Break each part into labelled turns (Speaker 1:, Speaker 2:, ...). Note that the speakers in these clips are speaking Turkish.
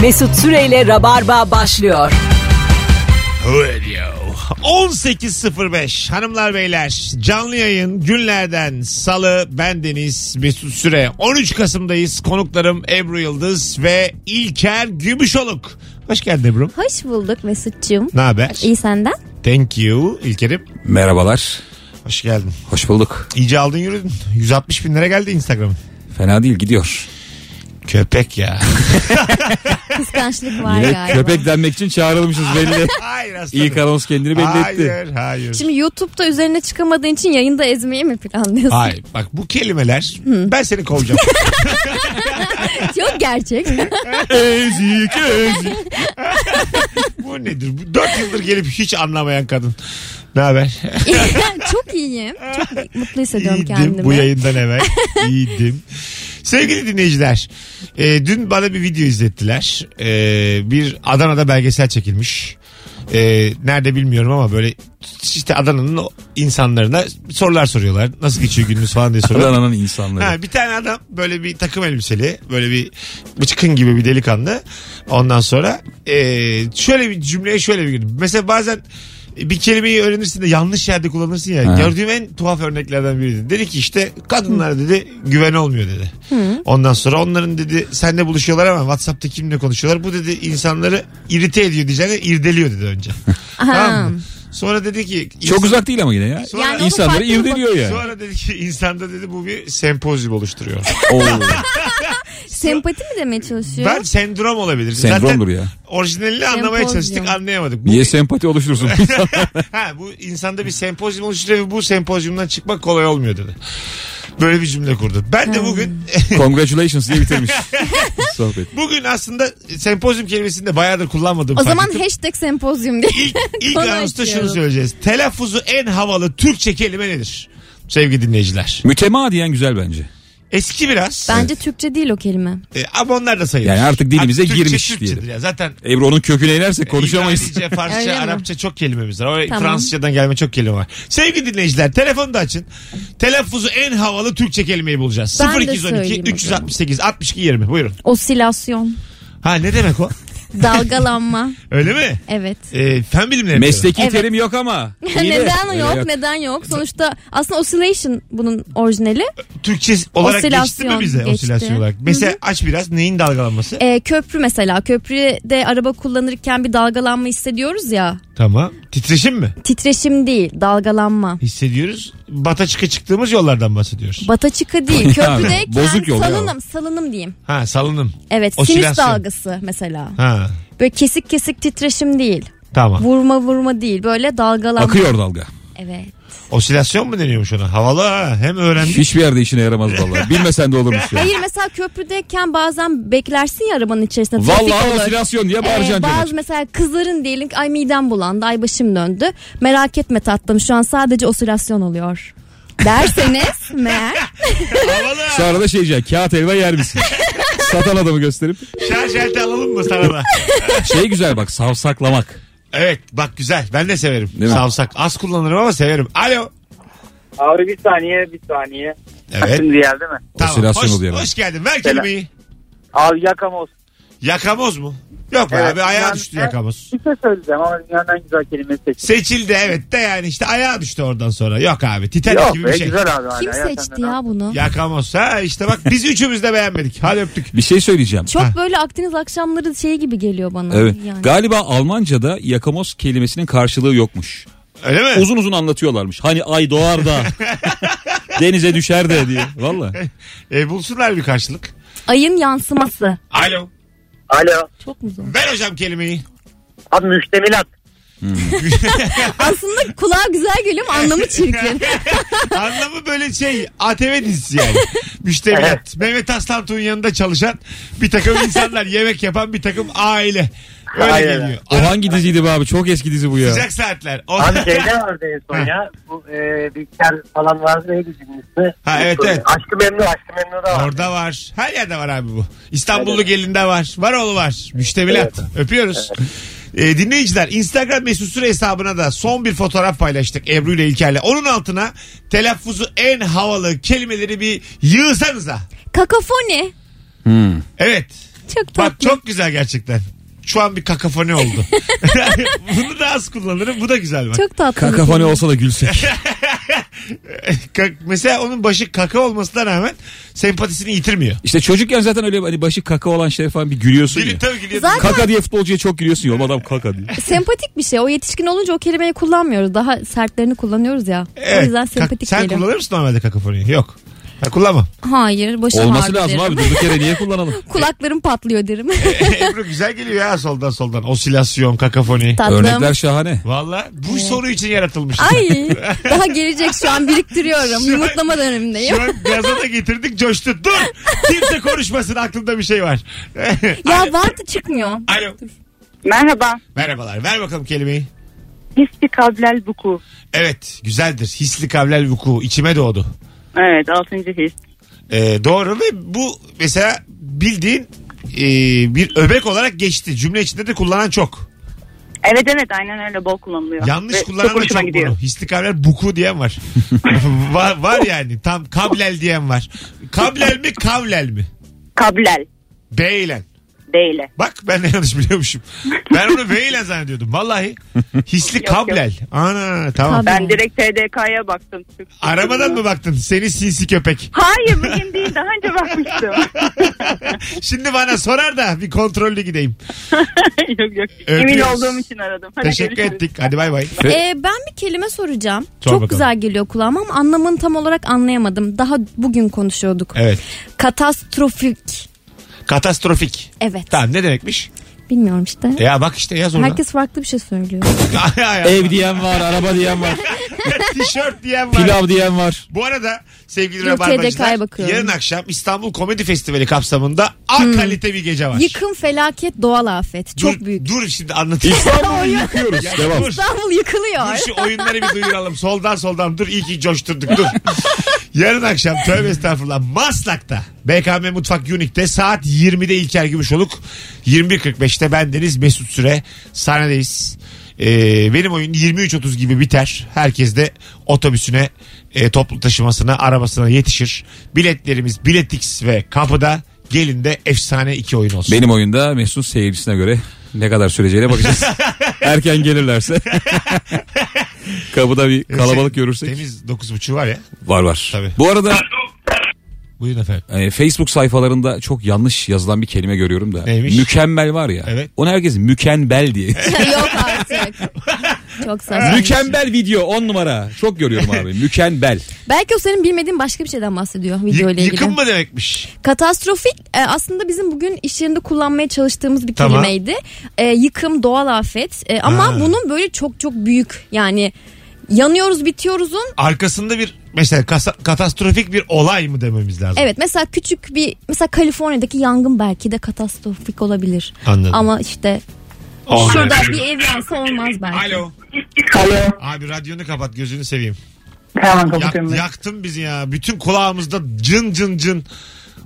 Speaker 1: Mesut Süreyle Rabarba başlıyor.
Speaker 2: Radio. 18.05 hanımlar beyler canlı yayın günlerden salı ben Deniz Mesut Süre 13 Kasım'dayız konuklarım Ebru Yıldız ve İlker Gümüşoluk hoş geldin Ebru
Speaker 3: Hoş bulduk Mesut'cum.
Speaker 2: ne haber
Speaker 3: İyi senden?
Speaker 2: thank you İlker'im
Speaker 4: Merhabalar.
Speaker 2: hoş geldin
Speaker 4: Hoş bulduk.
Speaker 2: İyice aldın yürüdün 160 bin lira geldi Instagram'ın
Speaker 4: Fena değil gidiyor.
Speaker 2: köpek ya
Speaker 3: Kıskançlık var
Speaker 4: Yine
Speaker 3: galiba.
Speaker 4: köpek denmek için çağrılmışız belli.
Speaker 2: hayır aslında
Speaker 4: İlk anons kendini belli etti.
Speaker 2: hayır hayır
Speaker 3: Şimdi YouTube'da üzerine çıkamadığın için yayında ezmeyi mi planlıyorsun?
Speaker 2: Hayır bak bu kelimeler ben seni kovacağım.
Speaker 3: Yok gerçek.
Speaker 4: Ezik ezik.
Speaker 2: bu nedir? Bu Dört yıldır gelip hiç anlamayan kadın. Ne haber?
Speaker 3: Çok iyiyim. Çok mutlu hissediyorum
Speaker 2: İyiydim
Speaker 3: kendimi.
Speaker 2: bu yayından evvel. İyiydim. Sevgili dinleyiciler, e, dün bana bir video izlettiler. E, bir Adana'da belgesel çekilmiş. E, nerede bilmiyorum ama böyle işte Adana'nın o insanlarına sorular soruyorlar. Nasıl geçiyor gününüz falan diye soruyorlar.
Speaker 4: Adana'nın insanları.
Speaker 2: Ha, bir tane adam böyle bir takım elbiseli böyle bir bıçkın gibi bir delikanlı. Ondan sonra eee, şöyle bir cümleye şöyle bir girdi. Mesela bazen bir kelimeyi öğrenirsin de yanlış yerde kullanırsın ya.
Speaker 4: Ha.
Speaker 2: Gördüğüm en tuhaf örneklerden biriydi. Dedi ki işte kadınlar dedi güven olmuyor dedi. Ondan sonra onların dedi senle buluşuyorlar ama Whatsapp'ta kimle konuşuyorlar. Bu dedi insanları irite ediyor diyeceğine irdeliyor dedi önce. tamam mı? Sonra dedi ki
Speaker 4: Çok uzak değil ama yine ya.
Speaker 2: Sonra-
Speaker 3: Yani onu
Speaker 4: İnsanları
Speaker 3: farklı mı
Speaker 4: irdeliyor yani.
Speaker 2: Sonra dedi ki insanda dedi bu bir sempozyum oluşturuyor.
Speaker 4: Oo,
Speaker 3: Sempati mi demeye çalışıyor?
Speaker 2: Ben sendrom olabilir.
Speaker 4: Sendromdur
Speaker 2: Zaten
Speaker 4: ya.
Speaker 2: orijinalini anlamaya
Speaker 3: Sempozyum.
Speaker 2: çalıştık anlayamadık. Bu
Speaker 4: Niye sempati oluşturursun?
Speaker 2: ha, bu insanda bir sempozyum oluşturuyor ve bu sempozyumdan çıkmak kolay olmuyor dedi. Böyle bir cümle kurdu. Ben de bugün e,
Speaker 4: Congratulations diye bitirmiş. Sohbet.
Speaker 2: bugün aslında sempozyum kelimesini de bayağıdır kullanmadım.
Speaker 3: o zaman hashtag sempozyum diye.
Speaker 2: ilk, ilk
Speaker 3: Onu
Speaker 2: anonsta şunu
Speaker 3: açıyorum.
Speaker 2: söyleyeceğiz. Telaffuzu en havalı Türkçe kelime nedir? Sevgili dinleyiciler.
Speaker 4: Mütemadiyen güzel bence.
Speaker 2: Eski biraz
Speaker 3: Bence Türkçe değil o kelime.
Speaker 2: e, ama onlar da sayılır.
Speaker 4: Yani artık dilimize
Speaker 2: Türkçe,
Speaker 4: girmiş
Speaker 2: Türkçedir
Speaker 4: diyelim.
Speaker 2: Ya. Zaten
Speaker 4: Ebru onun köküne inersek konuşamayız.
Speaker 2: İbranice,
Speaker 3: E, Öyle
Speaker 2: Farsça,
Speaker 3: mi?
Speaker 2: Arapça çok kelimemiz var. Oraya
Speaker 3: Tamam.
Speaker 2: Fransızcadan gelme çok kelime var. Sevgili dinleyiciler telefonu da açın. Telaffuzu en havalı Türkçe kelimeyi bulacağız.
Speaker 3: Ben de
Speaker 2: 0212
Speaker 3: söyleyeyim o
Speaker 2: 368 62 20 buyurun.
Speaker 3: Osilasyon,
Speaker 2: Ha ne demek o?
Speaker 3: dalgalanma.
Speaker 2: Öyle mi?
Speaker 3: Evet.
Speaker 2: Ee, fen bilimleri. mi?
Speaker 4: Mesleki
Speaker 3: Evet.
Speaker 4: terim yok ama. Yine.
Speaker 3: neden
Speaker 4: Öyle
Speaker 3: yok, neden yok? Sonuçta aslında oscillation bunun orijinali.
Speaker 2: Türkçe olarak geçti mi
Speaker 3: Osilasyon
Speaker 2: bize?
Speaker 3: geçti.
Speaker 2: Osilasyon olarak.
Speaker 3: Hı hı.
Speaker 2: Mesela aç biraz neyin dalgalanması?
Speaker 3: Ee, köprü mesela. Köprüde araba kullanırken bir dalgalanma hissediyoruz ya.
Speaker 2: tamam. Titreşim mi?
Speaker 3: Titreşim değil, dalgalanma.
Speaker 2: Hissediyoruz. Bata çıka çıktığımız yollardan bahsediyoruz.
Speaker 3: Bata çıka değil. Köprüdeyken
Speaker 4: bozuk yol ya.
Speaker 3: salınım, salınım diyeyim.
Speaker 2: Ha salınım.
Speaker 3: Evet, sinüs
Speaker 2: Osilasyon.
Speaker 3: dalgası mesela.
Speaker 2: Ha
Speaker 3: Böyle kesik kesik titreşim değil.
Speaker 2: tamam.
Speaker 3: Vurma vurma değil. Böyle dalgalanma.
Speaker 4: Akıyor dalga.
Speaker 3: Evet.
Speaker 2: Osilasyon mu deniyormuş ona? Havalı ha. Hem öğrendik.
Speaker 4: Hiçbir yerde işine yaramaz vallahi. Bilmesen de olurmuş ya.
Speaker 3: Hayır mesela köprüdeyken bazen beklersin ya arabanın içerisinde. trafik
Speaker 4: Vallahi
Speaker 3: olur.
Speaker 4: osilasyon diye
Speaker 3: Ee,
Speaker 4: bağıracaksın
Speaker 3: bazı
Speaker 4: demek.
Speaker 3: mesela kızların diyelim ki ay midem bulandı, ay başım döndü. Merak etme tatlım şu an sadece osilasyon oluyor. Derseniz meğer
Speaker 2: Havalı ha.
Speaker 4: Sonra da şey diyecek kağıt elma yer misin? Satan adamı gösterip.
Speaker 2: Şarj aleti alalım mı sana da?
Speaker 4: Şey güzel bak savsaklamak.
Speaker 2: Evet bak güzel ben de severim.
Speaker 4: mi?
Speaker 2: Savsak az kullanırım ama severim. Alo.
Speaker 5: Abi bir saniye bir saniye.
Speaker 2: Evet.
Speaker 5: Şimdi geldi mi?
Speaker 2: tamam.
Speaker 4: Osilasyon
Speaker 2: Hoş,
Speaker 4: oluyor
Speaker 2: hoş geldin. Ver kelimeyi.
Speaker 5: Abi yakamoz.
Speaker 2: Yakamoz mu? Yok be
Speaker 5: Evet,
Speaker 2: abi ayağa
Speaker 5: yani-
Speaker 2: düştü yakamoz.
Speaker 5: Bir şey söyleyeceğim ama dünyanın en güzel kelimesi seçti.
Speaker 2: Seçildi evet de yani işte ayağa düştü oradan sonra. Yok abi Titanic
Speaker 5: Yok
Speaker 2: gibi
Speaker 5: be,
Speaker 2: bir şey.
Speaker 5: güzel abi. hala.
Speaker 3: kim
Speaker 5: Hayatımda
Speaker 3: seçti
Speaker 5: ne-
Speaker 3: ya bunu?
Speaker 2: Yakamoz ha işte bak biz üçümüz de beğenmedik. Hadi öptük.
Speaker 4: Bir şey söyleyeceğim.
Speaker 3: Çok
Speaker 2: Ha.
Speaker 3: böyle Akdeniz akşamları şeyi gibi geliyor bana.
Speaker 4: Evet.
Speaker 3: Yani.
Speaker 4: Galiba Almanca'da yakamoz kelimesinin karşılığı yokmuş.
Speaker 2: Öyle mi?
Speaker 4: Uzun uzun anlatıyorlarmış. Hani ay doğar da denize düşer de diye. Valla.
Speaker 2: E, bulsunlar bir karşılık.
Speaker 3: Ayın yansıması.
Speaker 2: Alo.
Speaker 5: Alo.
Speaker 3: Çok mu zor?
Speaker 2: Ver hocam kelimeyi.
Speaker 5: Abi müştemilat.
Speaker 3: Aslında kulağa güzel geliyor ama anlamı çirkin.
Speaker 2: Anlamı böyle şey ATV dizisi yani. Müştemilat. Mehmet Aslan Tuğ'un yanında çalışan bir takım insanlar yemek yapan bir takım aile. Öyle
Speaker 5: Aynen.
Speaker 2: geliyor.
Speaker 4: O hangi diziydi be abi? Çok eski dizi bu ya.
Speaker 2: Sıcak saatler. O-
Speaker 5: Abi şeyde vardı en son ya. Bu e, bilgisayar falan vardı neydi dizinin ismi?
Speaker 2: Ha, evet, evet.
Speaker 5: Aşkı Memnu Aşkı Memnu da var.
Speaker 2: Orada var. Her yerde var abi bu. İstanbullu gelinde var. Var oğlu var. Müştemilat. Öpüyoruz. Ee, dinleyiciler Instagram mesut süre hesabına da son bir fotoğraf paylaştık Ebru ile İlker'le. Onun altına telaffuzu en havalı kelimeleri bir yığsanıza.
Speaker 3: Kakafoni.
Speaker 2: Evet.
Speaker 3: Çok
Speaker 2: Bak
Speaker 3: tatlı.
Speaker 2: çok güzel gerçekten. Şu an bir kakafone oldu. Bunu da az kullanırım. Bu da güzel bak.
Speaker 3: Çok tatlı.
Speaker 4: Kakafone olsa da gülsek.
Speaker 2: Kak- mesela onun başı kaka olmasına rağmen sempatisini yitirmiyor.
Speaker 4: İşte çocukken zaten öyle hani başı kaka olan şey falan bir gülüyorsun
Speaker 2: Dili
Speaker 4: ya.
Speaker 2: tabii ki
Speaker 3: Zaten-
Speaker 4: Kaka diye futbolcuya çok gülüyorsun ya. Oğlum adam kaka diyor.
Speaker 3: Sempatik bir şey. O yetişkin olunca o kelimeyi kullanmıyoruz. Daha sertlerini kullanıyoruz ya.
Speaker 2: Evet.
Speaker 3: O yüzden
Speaker 2: Kak-
Speaker 3: sempatik
Speaker 2: Sen
Speaker 3: geliyor.
Speaker 2: kullanır mısın normalde kakafoniyi? Yok. Ha, kullanma.
Speaker 3: Hayır başım
Speaker 4: Olması
Speaker 3: ağrıyor
Speaker 4: lazım
Speaker 3: derim.
Speaker 4: abi. Durduk yere niye kullanalım?
Speaker 3: Kulaklarım patlıyor derim.
Speaker 2: Ebru güzel geliyor ya soldan soldan. Osilasyon, kakafoni.
Speaker 3: Tatlım.
Speaker 4: Örnekler şahane.
Speaker 2: Valla bu soru için yaratılmış.
Speaker 3: Ay daha gelecek şu an biriktiriyorum.
Speaker 2: Şu an-
Speaker 3: Yumurtlama dönemindeyim.
Speaker 2: Şu an gaza da getirdik coştu. Dur. Kimse konuşmasın aklımda bir şey var.
Speaker 3: Ya vardı çıkmıyor.
Speaker 2: Alo.
Speaker 6: Merhaba.
Speaker 2: Merhabalar. Ver bakalım kelimeyi.
Speaker 6: Hissi kablel buku.
Speaker 2: Evet güzeldir. Hisli kavlel vuku. içime doğdu.
Speaker 6: Evet altıncı his.
Speaker 2: Ee, doğru ve bu mesela bildiğin e, bir öbek olarak geçti. Cümle içinde de kullanan çok.
Speaker 6: Evet evet aynen öyle bol kullanılıyor.
Speaker 2: Yanlış
Speaker 6: Ve
Speaker 2: kullanan
Speaker 6: çok
Speaker 2: da
Speaker 6: hoşuma
Speaker 2: çok
Speaker 6: gidiyor.
Speaker 2: bunu. Hisli kavlel buku diyen var. var. Var yani. Tam kablel diyen var. Kablel mi kavlel mi?
Speaker 6: Kablel
Speaker 2: Beylen.
Speaker 6: değil.
Speaker 2: Bak ben de yanlış biliyormuşum. Ben onu V'yle zannediyordum. Vallahi hisli
Speaker 6: Yok, yok.
Speaker 2: kablel. Ana tamam.
Speaker 3: Kabel.
Speaker 6: Ben direkt TDK'ya baktım. Türk
Speaker 2: Aramadan mı baktın? Seni sinsi köpek.
Speaker 6: Hayır bugün değil daha önce bakmıştım.
Speaker 2: Şimdi bana sorar da bir kontrollü gideyim.
Speaker 6: yok yok. Emin
Speaker 2: Öpüyoruz.
Speaker 6: olduğum için aradım. Hadi
Speaker 2: Teşekkür
Speaker 6: görüşürüz.
Speaker 2: ettik. Hadi bay bay.
Speaker 4: Ve-
Speaker 3: Ee, ben bir kelime soracağım.
Speaker 2: Sor
Speaker 3: Çok
Speaker 2: bakalım.
Speaker 3: güzel geliyor kulağıma ama anlamını tam olarak anlayamadım. Daha bugün konuşuyorduk.
Speaker 2: Evet.
Speaker 3: Katastrofik.
Speaker 2: Katastrofik.
Speaker 3: Evet.
Speaker 2: Tamam ne demekmiş? E
Speaker 3: Bilmiyorum işte.
Speaker 2: Ya bak işte yaz onu.
Speaker 3: Herkes farklı bir şey söylüyor.
Speaker 4: Ev diyen var, araba diyen var,
Speaker 2: Tişört diyen var.
Speaker 4: pilav diyen var.
Speaker 2: Bu arada sevgili
Speaker 3: Yok, TDK'ya
Speaker 2: Rabarbacılar
Speaker 3: bakıyorum.
Speaker 2: yarın akşam İstanbul Komedi Festivali kapsamında A kalite bir gece var.
Speaker 3: Yıkım, felaket, doğal afet. Çok
Speaker 2: dur,
Speaker 3: büyük.
Speaker 2: Dur şimdi anlatayım.
Speaker 4: İstanbul'u yıkıyoruz.
Speaker 2: Ya
Speaker 4: Devam.
Speaker 2: dur.
Speaker 3: İstanbul
Speaker 2: Dur
Speaker 3: yıkılıyor.
Speaker 2: şu oyunları bir duyuralım. Soldan soldan dur iyi ki coşturduk dur. Yarın akşam tövbe estağfurullah Maslak'ta BKM Mutfak Unique'de saat 20'de İlker Gümüşoluk 21.45'te bendeniz Mesut Süre sahnedeyiz. Ee, benim oyun 23.30 gibi biter. Herkes de otobüsüne, e, toplu taşımasına, arabasına yetişir. Biletlerimiz Biletix ve kapıda. Gelin de efsane iki oyun olsun.
Speaker 4: Benim oyunda Mesut seyircisine göre ne kadar süreceğine bakacağız. Erken gelirlerse. Kapıda bir kalabalık görürsek.
Speaker 2: Deniz 9.30 var ya.
Speaker 4: Var var.
Speaker 2: Şey, Tabii.
Speaker 4: Bu arada
Speaker 2: Buyurun efendim.
Speaker 4: e, Facebook sayfalarında çok yanlış yazılan bir kelime görüyorum da.
Speaker 2: Neymiş?
Speaker 4: Mükemmel var ya.
Speaker 2: Evet.
Speaker 4: Onu herkes mükemmel diye.
Speaker 3: Yok artık. Çok saçma.
Speaker 4: mükemmel video 10 numara. Çok görüyorum abi. Mükemmel.
Speaker 3: Belki o senin bilmediğin başka bir şeyden bahsediyor video ile
Speaker 2: Yık-
Speaker 3: ilgili.
Speaker 2: yıkım mı demekmiş?
Speaker 3: Katastrofik e, aslında bizim bugün iş yerinde kullanmaya çalıştığımız bir
Speaker 2: Tamam.
Speaker 3: kelimeydi. E, yıkım, doğal afet E, ama
Speaker 2: Ha.
Speaker 3: bunun böyle çok çok büyük yani yanıyoruz bitiyoruzun.
Speaker 2: arkasında bir mesela kasa- katastrofik bir olay mı dememiz lazım?
Speaker 3: Evet mesela küçük bir mesela Kaliforniya'daki yangın belki de katastrofik olabilir.
Speaker 2: Anladım.
Speaker 3: Ama işte
Speaker 2: Olmaz.
Speaker 3: şurada bir ev yansa olmaz belki.
Speaker 2: Alo.
Speaker 5: Alo.
Speaker 2: Abi radyonu kapat gözünü seveyim.
Speaker 5: Tamam
Speaker 2: Yak- yaktın bizi ya. Bütün kulağımızda cın cın cın.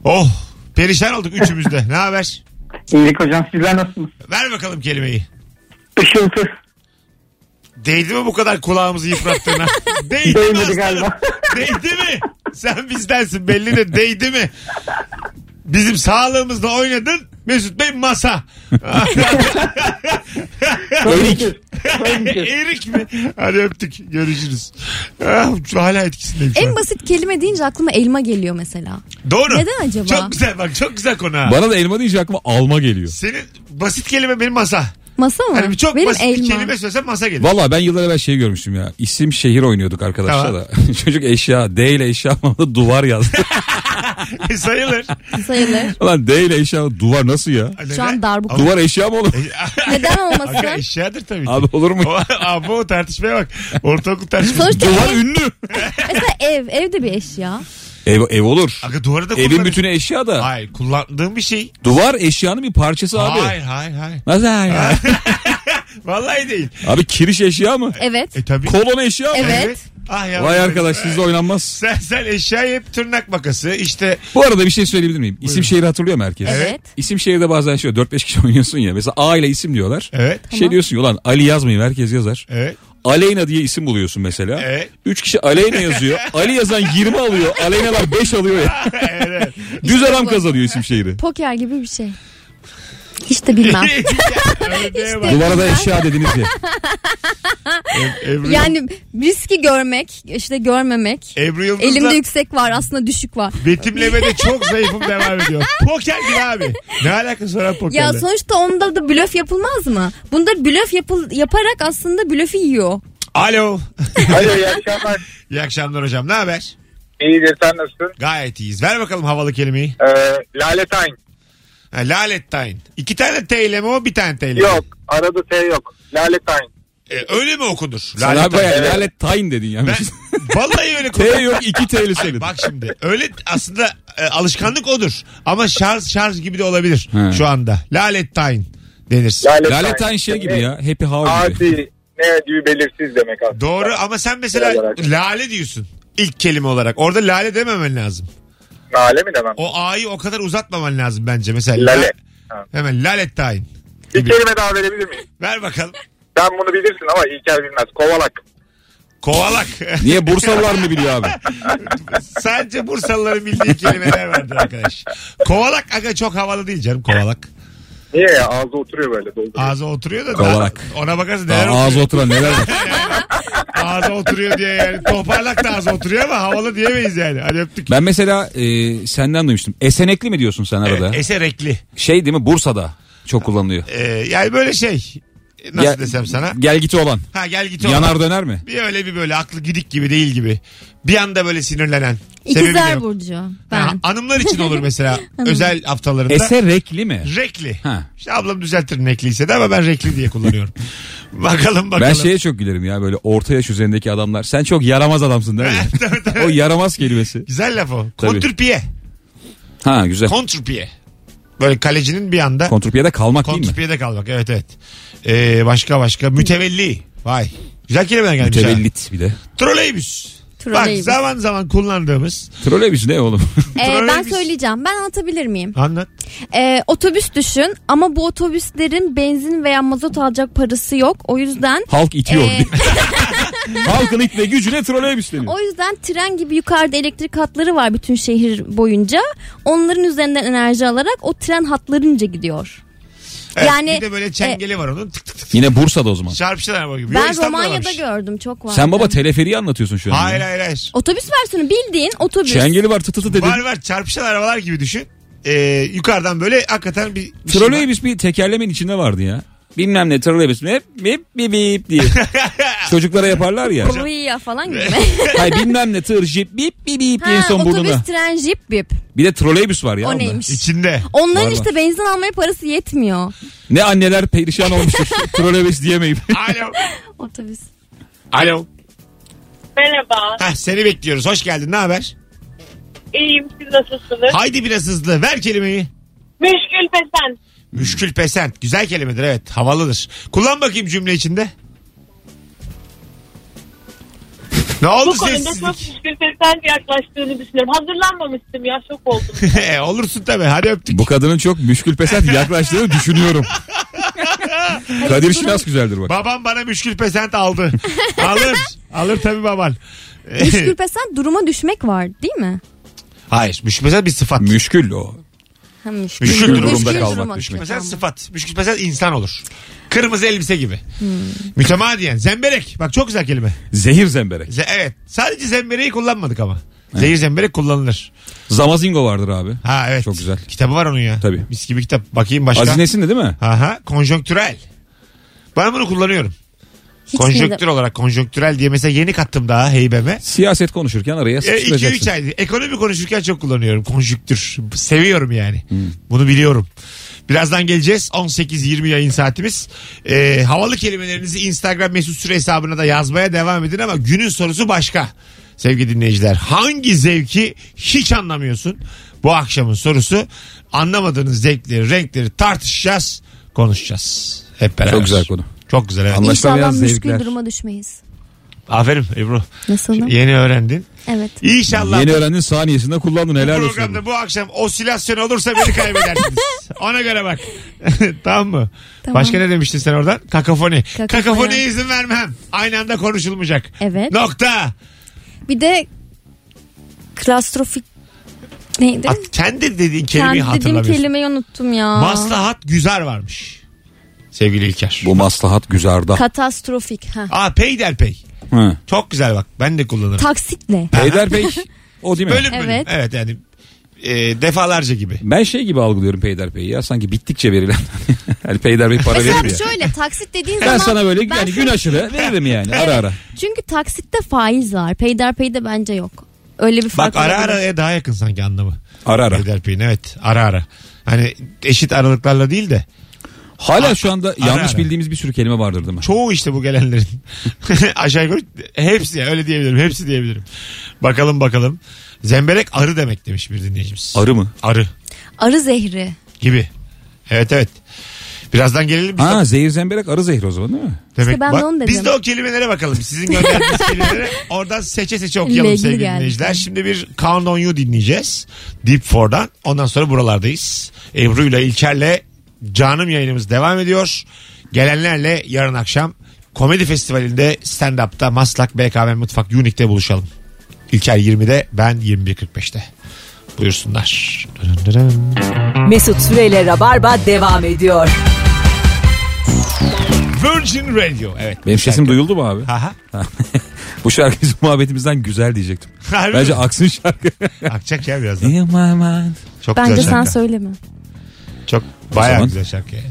Speaker 2: Oh perişan olduk üçümüz de. ne haber?
Speaker 5: İyilik hocam sizler nasılsınız?
Speaker 2: Ver bakalım kelimeyi.
Speaker 5: Işıltı.
Speaker 2: Değdi mi bu kadar kulağımızı yıprattığına? değdi mi
Speaker 5: Değmedi
Speaker 2: aslanım?
Speaker 5: galiba.
Speaker 2: Değdi mi? Sen bizdensin belli de değdi mi? Bizim sağlığımızla oynadın. Mesut Bey masa.
Speaker 4: Erik.
Speaker 2: Erik mi? Hadi öptük. Görüşürüz. Ah, hala etkisindeyim şu an.
Speaker 3: En basit kelime deyince aklıma elma geliyor mesela.
Speaker 2: Doğru.
Speaker 3: Neden acaba?
Speaker 2: Çok güzel bak çok güzel konu ha.
Speaker 4: Bana da elma deyince aklıma alma geliyor.
Speaker 2: Senin basit kelime benim masa.
Speaker 3: Masa mı?
Speaker 2: Hani çok
Speaker 3: Benim
Speaker 2: basit
Speaker 3: elma.
Speaker 2: bir kelime söylesem masa gelir.
Speaker 4: Valla ben yıllar evvel şey görmüştüm ya. İsim şehir oynuyorduk arkadaşlar
Speaker 2: Tamam.
Speaker 4: da. Çocuk eşya D ile eşya anlamında duvar yazdı.
Speaker 2: Sayılır. Hani
Speaker 3: Sayılır.
Speaker 4: Lan D ile eşya duvar nasıl ya?
Speaker 3: Şu an darbuka.
Speaker 4: Duvar eşya mı oğlum?
Speaker 2: E-
Speaker 3: Neden
Speaker 2: Aga
Speaker 3: olmasın?
Speaker 2: eşyadır tabii ki.
Speaker 4: Abi olur mu?
Speaker 2: O, abi o tartışmaya bak. Ortaokul tartışması.
Speaker 3: Sonuçta
Speaker 4: Duvar
Speaker 3: ev,
Speaker 4: ünlü.
Speaker 3: mesela ev, ev de bir eşya.
Speaker 4: Ev, ev olur.
Speaker 2: Aga duvarı da kullanır.
Speaker 4: Evin bütünü eşya da.
Speaker 2: Hayır kullandığım bir şey.
Speaker 4: Duvar eşyanın bir parçası
Speaker 2: Hayır
Speaker 4: abi.
Speaker 2: hayır hayır.
Speaker 4: Nasıl hayır?
Speaker 2: Vallahi değil.
Speaker 4: Abi kiriş eşya mı?
Speaker 3: Evet.
Speaker 2: E tabii.
Speaker 4: Kolon eşya mı?
Speaker 3: Evet.
Speaker 2: Ah ya.
Speaker 4: Vay arkadaş sizle oynanmaz.
Speaker 2: Sen, sen eşyayı hep tırnak makası işte
Speaker 4: Bu arada bir şey söyleyebilir miyim? İsim şehri hatırlıyor mu herkes?
Speaker 3: Evet.
Speaker 4: İsim şehirde bazen şey 4-5 kişi oynuyorsun ya. Mesela A ile isim diyorlar.
Speaker 2: evet
Speaker 4: Şey diyorsun ya, ulan Ali yazmayayım herkes yazar.
Speaker 2: evet
Speaker 4: Aleyna diye isim buluyorsun mesela.
Speaker 2: Evet.
Speaker 4: 3 kişi Aleyna yazıyor. Ali yazan 20 alıyor. Aleynalar 5 alıyor ya.
Speaker 2: evet.
Speaker 4: Düz adam kazanıyor isim şehri.
Speaker 3: Poker gibi bir şey. Hiç de bilmem.
Speaker 2: Ördeğe bak.
Speaker 4: Duvara da eşya dediniz ya.
Speaker 2: Ebru,
Speaker 3: yani riski görmek, işte görmemek.
Speaker 2: Ebru Yıldız'la
Speaker 3: Elimde yüksek var aslında düşük var.
Speaker 2: betimlemede çok zayıfım devam ediyor. Poker gibi abi. Ne alakası var abi pokerle?
Speaker 3: Ya sonuçta onda da blöf yapılmaz mı? Bunda blöf yapıl yaparak aslında blöfü yiyor.
Speaker 2: Alo.
Speaker 7: Alo iyi akşamlar.
Speaker 2: İyi akşamlar hocam. Ne haber?
Speaker 7: İyidir sen nasılsın?
Speaker 2: Gayet iyiyiz. Ver bakalım havalı kelimeyi.
Speaker 7: Ee, Lale Tayn.
Speaker 2: Ha, Lalettayn. İki tane T ile mi o bir tane T ile mi?
Speaker 7: Yok arada T yok. Lale Tayn.
Speaker 2: E, öyle mi okunur?
Speaker 4: Sana
Speaker 2: Lalettayn.
Speaker 4: bayağı lanet tayin dedin ya.
Speaker 2: Ben vallahi öyle
Speaker 4: T
Speaker 2: kullanıyorum.
Speaker 4: yok iki T'li söyledin.
Speaker 2: Bak şimdi öyle aslında e, alışkanlık odur. Ama şarj şarj gibi de olabilir
Speaker 4: He.
Speaker 2: şu anda. Lalettayn denir.
Speaker 7: Lale,
Speaker 4: Lalet tayin şey gibi ya. Happy hour gibi.
Speaker 7: Adi ne ödüğü belirsiz demek aslında.
Speaker 2: Doğru ama sen mesela
Speaker 7: Genel olarak.
Speaker 2: lale diyorsun ilk kelime olarak. Orada lale dememen lazım.
Speaker 7: Lale mi demem?
Speaker 2: O a'yı o kadar uzatmaman lazım bence mesela.
Speaker 7: Lale.
Speaker 2: La- Hemen lalettayn.
Speaker 7: Bir kelime daha verebilir miyim?
Speaker 2: Ver bakalım.
Speaker 7: Sen bunu bilirsin ama İlker bilmez. Kovalak.
Speaker 2: Kovalak.
Speaker 4: Niye Bursalılar mı biliyor abi?
Speaker 2: Sadece Bursalıların bildiği kelimeler vardı arkadaş. Kovalak aga çok havalı değil canım kovalak.
Speaker 7: Niye ya? Ağzı oturuyor böyle dolduruyor.
Speaker 2: Ağza oturuyor da
Speaker 4: Kovalak.
Speaker 2: ona bakarsın neler
Speaker 4: Daha
Speaker 2: oturuyor.
Speaker 4: ağzı oturan neler var?
Speaker 2: ağza oturuyor diye yani. Toparlak da ağza oturuyor ama havalı diyemeyiz yani. Hadi öptük.
Speaker 4: Ben mesela e, senden duymuştum. Esenekli mi diyorsun sen arada?
Speaker 2: Evet, eserekli.
Speaker 4: şey değil mi Bursa'da çok kullanılıyor.
Speaker 2: Ee, yani böyle şey. Nasıl
Speaker 4: Ya-
Speaker 2: desem sana?
Speaker 4: Gel git olan.
Speaker 2: Ha gel git oğlum.
Speaker 4: Yanar döner mi?
Speaker 2: Bir öyle bir böyle aklı gidik gibi değil gibi. Bir anda böyle sinirlenen. Sebebi de
Speaker 3: İkizler
Speaker 2: yok.
Speaker 3: Burcu.
Speaker 2: Ha,
Speaker 3: Ben.
Speaker 2: hanımlar için olur mesela özel haftalarında.
Speaker 4: Eserekli mi?
Speaker 2: Rekli.
Speaker 4: Ha.
Speaker 2: İşte ablam düzeltir rekliyse de ama ben rekli diye kullanıyorum. bakalım bakalım.
Speaker 4: Ben şey- şeye çok gülerim ya böyle orta yaş üzerindeki adamlar. Sen çok yaramaz adamsın değil mi? o yaramaz kelimesi.
Speaker 2: Güzel laf o.
Speaker 4: Tabii.
Speaker 2: Kontrpiye.
Speaker 4: Ha güzel.
Speaker 2: Kontrpiye. Böyle kalecinin bir anda
Speaker 4: Kontrpiyede kalmak değil mi?
Speaker 2: kontrpiyede kalmak. Evet evet. Ee, başka başka. Mütevelli. Vay. Güzel kelimeler gelmiş. ha.
Speaker 4: Mütevellit bir de.
Speaker 2: Troleybüs.
Speaker 3: Troleybüs.
Speaker 2: Bak zaman zaman kullandığımız.
Speaker 4: Trolebüs ne oğlum?
Speaker 3: Ee, ben
Speaker 2: Troleybüs.
Speaker 3: söyleyeceğim. Ben anlatabilir miyim?
Speaker 2: Anlat.
Speaker 3: Ee, otobüs düşün ama bu otobüslerin benzin veya mazot alacak parası yok. O yüzden
Speaker 4: Halk itiyor.
Speaker 3: Ee,
Speaker 4: Halkın itme gücüne trolebüs deniyor.
Speaker 3: o yüzden tren gibi yukarıda elektrik hatları var bütün şehir boyunca. Onların üzerinden enerji alarak o tren hatlarınca gidiyor.
Speaker 2: Evet,
Speaker 3: Yani, e,
Speaker 2: bir de böyle çengeli var onun. Tık tık tık.
Speaker 4: Yine Bursa'da o zaman.
Speaker 2: Çarpıştılar bak. gibi. Yok,
Speaker 3: Ben
Speaker 2: İstanbul'da
Speaker 3: Romanya'da
Speaker 2: varmış.
Speaker 3: gördüm çok var.
Speaker 4: Sen baba teleferiği anlatıyorsun şu an.
Speaker 2: Hayır
Speaker 4: Ya.
Speaker 2: hayır hayır.
Speaker 3: Otobüs versiyonu bildiğin otobüs.
Speaker 4: Çengeli var tı tı tı dedi.
Speaker 2: Var var çarpışan arabalar gibi düşün. Ee, yukarıdan böyle hakikaten bir, bir şey var.
Speaker 4: Trolebüs bir tekerlemenin içinde vardı ya. Bilmem ne trolebüs mü? Hep bip bip bip diye. Çocuklara yaparlar ya.
Speaker 3: Ruiya falan gibi.
Speaker 4: Hayır bilmem ne tır jip bip bip bip diye
Speaker 3: ha,
Speaker 4: en son
Speaker 3: otobüs,
Speaker 4: burnuna.
Speaker 3: tren, jip, bip.
Speaker 4: Bir de trolebüs var ya.
Speaker 3: O
Speaker 4: onda.
Speaker 3: neymiş?
Speaker 2: İçinde.
Speaker 3: Onların
Speaker 4: Var,
Speaker 3: işte benzin almaya parası yetmiyor.
Speaker 4: Ne anneler perişan olmuştur trolebüs diyemeyip.
Speaker 2: Alo.
Speaker 3: Otobüs.
Speaker 2: Alo.
Speaker 6: Merhaba.
Speaker 2: Heh, seni bekliyoruz. Hoş geldin. Ne haber?
Speaker 6: İyiyim siz nasılsınız?
Speaker 2: Haydi biraz hızlı. Ver kelimeyi.
Speaker 6: Müşkül pesen.
Speaker 2: Hmm. Müşkül pesent. Güzel kelimedir evet. Havalıdır. Kullan bakayım cümle içinde. ne oldu
Speaker 6: Bu konuda çok
Speaker 2: sessizlik?
Speaker 6: müşkül pesen yaklaştığını düşünüyorum. Hazırlanmamıştım ya şok oldum.
Speaker 2: E, Olursun tabii. Hadi öptük.
Speaker 4: Bu kadının çok müşkül pesent yaklaştığını düşünüyorum. Kadir Şinas güzeldir bak.
Speaker 2: Babam bana müşkül pesent aldı. alır. Alır tabii E, baban.
Speaker 3: Müşkül pesen duruma düşmek var değil mi?
Speaker 2: Hayır. Müşkül pesent bir sıfat.
Speaker 4: Müşkül o.
Speaker 3: Ha, müşkül.
Speaker 2: Müşkül durumda
Speaker 4: kalmak,
Speaker 3: duruma
Speaker 4: müşkül
Speaker 3: düşmek.
Speaker 2: Mesela sıfat. Müşkül pesent insan olur. Kırmızı elbise gibi.
Speaker 6: Hmm.
Speaker 2: Mütemadiyen. Zemberek. Bak çok güzel kelime.
Speaker 4: Zehir zemberek.
Speaker 2: Ze- evet. Sadece zembereği kullanmadık ama. Zehir zemberek kullanılır.
Speaker 4: Zamazingo vardır abi.
Speaker 2: Ha evet.
Speaker 4: Çok güzel.
Speaker 2: Kitabı var onun ya.
Speaker 4: Tabii.
Speaker 2: Mis gibi kitap. Bakayım başka.
Speaker 4: Aziz Nesin de değil mi?
Speaker 2: Aha. Konjonktürel. Ben bunu kullanıyorum.
Speaker 3: Hiç
Speaker 2: Konjonktür
Speaker 3: bilmiyorum.
Speaker 2: olarak konjonktürel diye mesela yeni kattım daha heybeme.
Speaker 4: Siyaset konuşurken
Speaker 2: E,
Speaker 4: araya
Speaker 2: 2-3
Speaker 4: sıkıştıracaksın.
Speaker 2: ay. Ekonomi konuşurken çok kullanıyorum. Konjüktür. Seviyorum yani.
Speaker 4: Hmm.
Speaker 2: Bunu biliyorum. Birazdan geleceğiz. 18-20 yayın saatimiz. Ee, havalı kelimelerinizi Instagram mesut süre hesabına da yazmaya devam edin ama günün sorusu başka. Sevgili dinleyiciler hangi zevki hiç anlamıyorsun? Bu akşamın sorusu anlamadığınız zevkleri, renkleri tartışacağız, konuşacağız. Hep beraber.
Speaker 4: Çok güzel konu.
Speaker 2: Çok güzel evet.
Speaker 4: Anlaş- Anlaşılamayan
Speaker 3: İnşallah müşkül
Speaker 4: zevkler.
Speaker 3: duruma düşmeyiz.
Speaker 2: Aferin Ebru.
Speaker 3: Nasıl?
Speaker 2: Yeni öğrendin.
Speaker 3: Evet.
Speaker 2: İnşallah
Speaker 4: Yeni öğrendin saniyesinde kullandın helal
Speaker 2: bu
Speaker 4: olsun.
Speaker 2: programda bu akşam osilasyon olursa beni kaybedersiniz. Ona göre bak. tamam mı?
Speaker 3: Tamam.
Speaker 2: Başka ne demiştin sen oradan? Kakafoni. Kakafoniye
Speaker 3: Kakafoni.
Speaker 2: izin vermem. Aynı anda konuşulmayacak.
Speaker 3: Evet.
Speaker 2: Nokta.
Speaker 3: Bir de klastrofik Neydi?
Speaker 2: At, kendi dediğin kelimeyi
Speaker 3: Kendi dediğim
Speaker 2: hatırlamıyorsun.
Speaker 3: kelimeyi unuttum ya.
Speaker 2: Maslahat güzar varmış. Sevgili İlker.
Speaker 4: Bu maslahat güzarda.
Speaker 3: Katastrofik. Ha.
Speaker 2: Aa peyderpey.
Speaker 4: Hı.
Speaker 2: Çok güzel bak. Ben de kullanırım.
Speaker 3: Taksit ne?
Speaker 4: Peyderpey o değil mi?
Speaker 2: Bölüm bölüm. Evet.
Speaker 3: Evet.
Speaker 2: yani e, defalarca gibi.
Speaker 4: Ben şey gibi algılıyorum peyderpeyi ya sanki bittikçe verilen. hani peyderpey para
Speaker 3: Mesela
Speaker 4: verir ya.
Speaker 3: şöyle taksit dediğin
Speaker 4: Ben
Speaker 3: zaman
Speaker 4: sana böyle
Speaker 3: ben
Speaker 4: yani
Speaker 3: sana-
Speaker 4: gün
Speaker 2: şey
Speaker 4: aşırı veririm yani ara ara.
Speaker 3: Çünkü taksitte faiz var. Peyderpey'de bence yok. Öyle bir fark
Speaker 2: Bak ara
Speaker 3: olabilir.
Speaker 2: araya daha yakın sanki anlamı.
Speaker 4: Ara ara.
Speaker 2: Peyderpey'in evet ara ara. Hani eşit aralıklarla değil de
Speaker 4: Hala şu anda
Speaker 2: Ara
Speaker 4: yanlış
Speaker 2: ara.
Speaker 4: bildiğimiz bir sürü kelime vardır değil mi?
Speaker 2: çoğu işte bu gelenlerin. Aşağı yukarı hepsi ya, öyle diyebilirim. Hepsi diyebilirim. Bakalım bakalım. Zemberek arı demek demiş bir dinleyicimiz.
Speaker 4: Arı mı?
Speaker 2: Arı
Speaker 3: Arı zehri.
Speaker 2: gibi. Evet evet. Birazdan gelelim biz.
Speaker 4: Ha zehir zemberek arı zehri o zaman değil mi?
Speaker 2: Demek-
Speaker 3: İşte ben de
Speaker 2: Bak,
Speaker 3: onu dedim.
Speaker 2: Biz de o kelimelere bakalım. Sizin gönderdiğiniz kelimelere oradan seçe seçe okuyalım
Speaker 3: İlgili
Speaker 2: sevgili
Speaker 3: geldi.
Speaker 2: dinleyiciler. Şimdi bir Count On You dinleyeceğiz. Deep Four'dan. Ondan sonra buralardayız. Ebru'yla İlker'le canım yayınımız devam ediyor. Gelenlerle yarın akşam Komedi Festivali'nde stand-up'ta Maslak BKM Mutfak Unique'de buluşalım. İlker 20'de ben 21.45'te. Buyursunlar. Dırın dırın.
Speaker 1: Mesut Süreyle Rabarba devam ediyor.
Speaker 2: Virgin Radio. Evet.
Speaker 4: Benim sesim duyuldu mu abi?
Speaker 2: Aha.
Speaker 4: Bu şarkı bizim muhabbetimizden güzel diyecektim.
Speaker 2: Harbi
Speaker 4: Bence
Speaker 2: mi?
Speaker 4: aksın şarkı.
Speaker 2: Akacak ya birazdan.
Speaker 4: In my mind.
Speaker 2: Çok
Speaker 3: Bence
Speaker 2: güzel
Speaker 3: sen
Speaker 2: şarkı.
Speaker 3: söyleme.
Speaker 2: Çok bayağı
Speaker 4: zaman-
Speaker 2: güzel şarkı yani.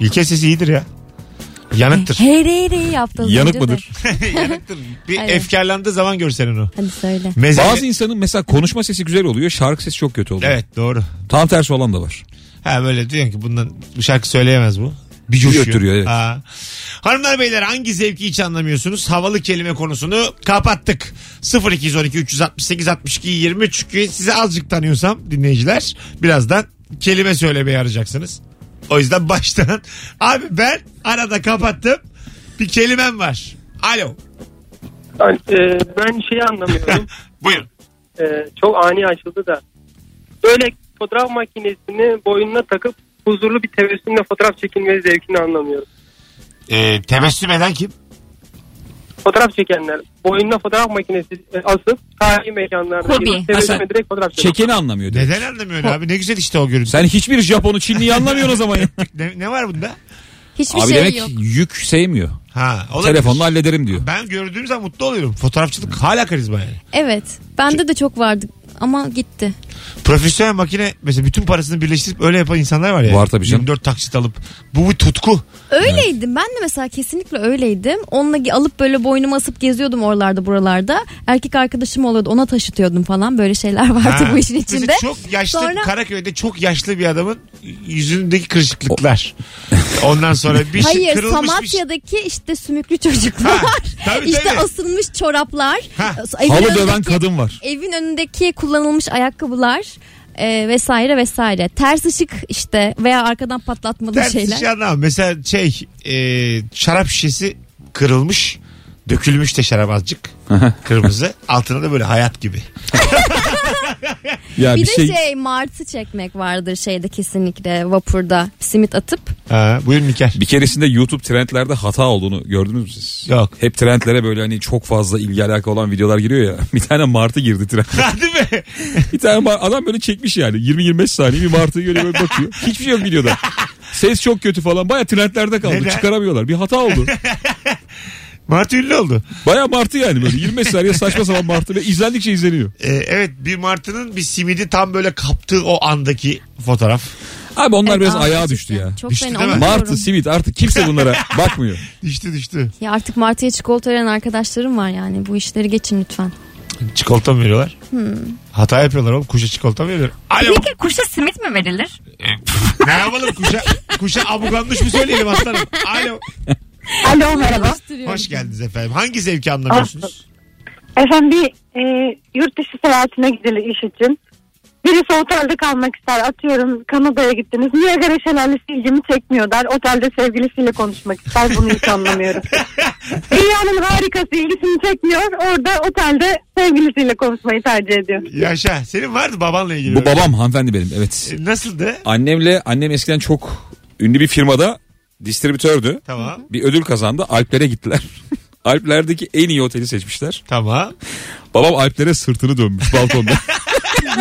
Speaker 2: İlke sesi iyidir ya. Yanıktır.
Speaker 3: Hey hey hey yaptı az
Speaker 4: Yanık
Speaker 3: önce de.
Speaker 4: mıdır?
Speaker 2: Yanıktır. Bir
Speaker 3: Aynen.
Speaker 2: efkarlandığı zaman görsen onu.
Speaker 3: Hadi söyle.
Speaker 2: Meze...
Speaker 4: Bazı insanın mesela konuşma sesi güzel oluyor, şarkı sesi çok kötü oluyor.
Speaker 2: Evet doğru.
Speaker 4: Tam tersi olan da var.
Speaker 2: Ha böyle diyorsun ki bundan bu şarkı söyleyemez bu. Bir
Speaker 4: götürüyor, evet.
Speaker 2: Ha. Hanımlar beyler hangi zevki hiç anlamıyorsunuz? Havalı kelime konusunu kapattık. 0212 368 62 23 çünkü sizi azıcık tanıyorsam dinleyiciler birazdan kelime söylemeye arayacaksınız. O yüzden baştan abi ben arada kapattım. Bir kelimem var. Alo.
Speaker 5: Ee, ben şeyi anlamıyorum.
Speaker 2: Buyur.
Speaker 5: Ee, çok ani açıldı da. Böyle fotoğraf makinesini boynuna takıp huzurlu bir tebessümle fotoğraf çekilme zevkini anlamıyorum.
Speaker 2: Ee, tebessüm eden kim?
Speaker 5: Fotoğraf çekenler boynuna fotoğraf makinesi e, asıp tarihi mekanlarda
Speaker 3: Hobi.
Speaker 5: gezip
Speaker 4: Ha, sen
Speaker 5: tebessümle direkt fotoğraf çekiyor.
Speaker 4: Çekeni anlamıyor. diyor.
Speaker 2: Neden anlamıyorsun abi? Ne güzel işte o görüntü.
Speaker 4: Sen hiçbir Japon'u Çinli'yi anlamıyorsun o zaman ya.
Speaker 2: Ne, ne var bunda?
Speaker 3: Hiçbir
Speaker 4: Abi
Speaker 3: şey
Speaker 4: demek
Speaker 3: yok.
Speaker 4: yük sevmiyor.
Speaker 2: Ha, olabilir.
Speaker 4: Telefonla hallederim diyor.
Speaker 2: Ben gördüğüm zaman mutlu oluyorum. Fotoğrafçılık hala karizma yani.
Speaker 3: Evet. Bende de çok vardı ama gitti.
Speaker 2: Profesyonel makine mesela bütün parasını birleştirip öyle yapan insanlar var ya.
Speaker 4: Var tabii canım.
Speaker 2: 24 taksit alıp. Bu bir tutku.
Speaker 3: Öyleydim. Ben de mesela kesinlikle öyleydim. Onunla gi- alıp böyle boynuma asıp geziyordum oralarda buralarda. Erkek arkadaşım oluyordu. Ona taşıtıyordum falan. Böyle şeyler vardı
Speaker 2: Ha.
Speaker 3: bu işin
Speaker 2: Mesela
Speaker 3: içinde.
Speaker 2: çok yaşlı
Speaker 3: Sonra-
Speaker 2: Karaköy'de çok yaşlı bir adamın yüzündeki kırışıklıklar. Ondan sonra bir şey
Speaker 3: Hayır
Speaker 2: kırılmış bir şey.
Speaker 3: Samatya'daki işte sümüklü çocuklar.
Speaker 2: Ha, tabii,
Speaker 3: işte
Speaker 2: tabii.
Speaker 3: asılmış çoraplar.
Speaker 2: Ha.
Speaker 3: Evin
Speaker 4: Halı
Speaker 3: önündeki-
Speaker 4: döven kadın var.
Speaker 3: Evin önündeki kullanılmış ayakkabılar e, vesaire vesaire. Ters ışık işte veya arkadan patlatmalı
Speaker 2: Ters
Speaker 3: şeyler.
Speaker 2: şey anlamam. Mesela şey e, şarap şişesi kırılmış. Dökülmüş de şarap azıcık. Kırmızı. Altına da böyle hayat gibi.
Speaker 4: Ya
Speaker 3: Bir, de şey... martı çekmek vardır şeyde kesinlikle vapurda simit atıp.
Speaker 2: Ha, buyurun İlker.
Speaker 4: Bir keresinde YouTube trendlerde hata olduğunu gördünüz mü siz?
Speaker 2: Yok.
Speaker 4: Hep trendlere böyle hani çok fazla ilgi alaka olan videolar giriyor ya. Bir tane martı girdi trend.
Speaker 2: Hadi be.
Speaker 4: bir tane mar- adam böyle çekmiş yani. 20-25 saniye bir martı görüyor böyle bakıyor. Hiçbir şey yok videoda. Ses çok kötü falan. Baya trendlerde kaldı.
Speaker 2: Neden?
Speaker 4: Çıkaramıyorlar. Bir hata oldu.
Speaker 2: Martı ünlü oldu.
Speaker 4: Baya martı yani böyle. 25 saniye saçma sapan martı ve izlendikçe izleniyor.
Speaker 2: Ee, evet bir martının bir simidi tam böyle kaptığı o andaki fotoğraf.
Speaker 4: Abi onlar
Speaker 3: Evet,
Speaker 4: biraz
Speaker 3: abi,
Speaker 4: ayağa
Speaker 3: e, gerçekten
Speaker 4: düştü ya.
Speaker 3: Çok
Speaker 2: Düştü
Speaker 3: fena
Speaker 2: değil mi?
Speaker 3: onu
Speaker 4: Martı,
Speaker 3: diyorum.
Speaker 4: simit artık kimse bunlara bakmıyor.
Speaker 2: Düştü düştü.
Speaker 3: Ya artık martıya çikolata veren arkadaşlarım var yani. Bu işleri geçin lütfen.
Speaker 2: Çikolata mı veriyorlar? Hata yapıyorlar oğlum. Kuşa çikolata mı veriyorlar? Alo.
Speaker 8: Hmm. kuşa simit mi verilir?
Speaker 2: ne yapalım kuşa? Kuşa abuganmış mı söyleyelim aslanım? Alo.
Speaker 8: Alo merhaba.
Speaker 2: Hoş geldiniz efendim. Hangi zevki anlamıyorsunuz?
Speaker 8: Efendim bir e, yurt dışı seyahatine gidilir iş için. Birisi otelde kalmak ister. Atıyorum Kanada'ya gittiniz. Niagara şelalesi ilgimi çekmiyor der. Otelde sevgilisiyle konuşmak ister. Bunu hiç anlamıyorum. Dünyanın harikası ilgisini çekmiyor. Orada otelde sevgilisiyle konuşmayı tercih ediyor.
Speaker 2: Yaşa. Senin vardı babanla ilgili.
Speaker 4: Bu
Speaker 2: böyle.
Speaker 4: babam hanımefendi benim evet.
Speaker 2: E, Nasıldı?
Speaker 4: Annemle annem eskiden çok ünlü bir firmada distribütördü.
Speaker 2: Tamam.
Speaker 4: Bir ödül kazandı. Alplere gittiler. Alplerdeki en iyi oteli seçmişler.
Speaker 2: Tamam.
Speaker 4: Babam Alplere sırtını dönmüş balkonda.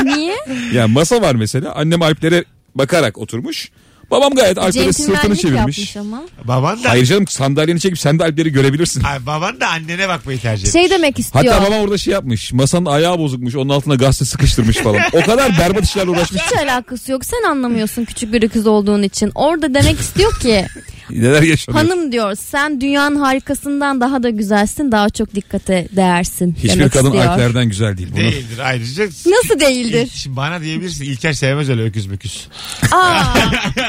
Speaker 3: Niye?
Speaker 4: Yani masa var mesela. Annem Alplere bakarak oturmuş. Babam gayet Alplere sırtını
Speaker 3: Centilmenlik
Speaker 4: çevirmiş.
Speaker 3: yapmış ama.
Speaker 2: Baban da
Speaker 4: Hayır canım sandalyeni çekip sen de Alpleri görebilirsin.
Speaker 2: Ay, baban da annene bakmayı tercih etmiş.
Speaker 3: Şey demek istiyor.
Speaker 4: Hatta babam orada şey yapmış. Masanın ayağı bozukmuş. Onun altına gazete sıkıştırmış falan. O kadar berbat işlerle uğraşmış.
Speaker 3: Hiç alakası yok. Sen anlamıyorsun küçük bir kız olduğun için. Orada demek istiyor ki
Speaker 4: Neler yaşanıyor.
Speaker 3: hanım diyor sen dünyanın harikasından daha da güzelsin. Daha çok dikkate değersin.
Speaker 4: Hiçbir
Speaker 3: demek
Speaker 4: kadın
Speaker 3: istiyor.
Speaker 4: Alplerden güzel değil. Bunu
Speaker 2: Değildir ayrıca.
Speaker 3: Nasıl değildir?
Speaker 2: Şimdi bana diyebilirsin İlker sevmez öyle öküz müküz.
Speaker 3: Aa,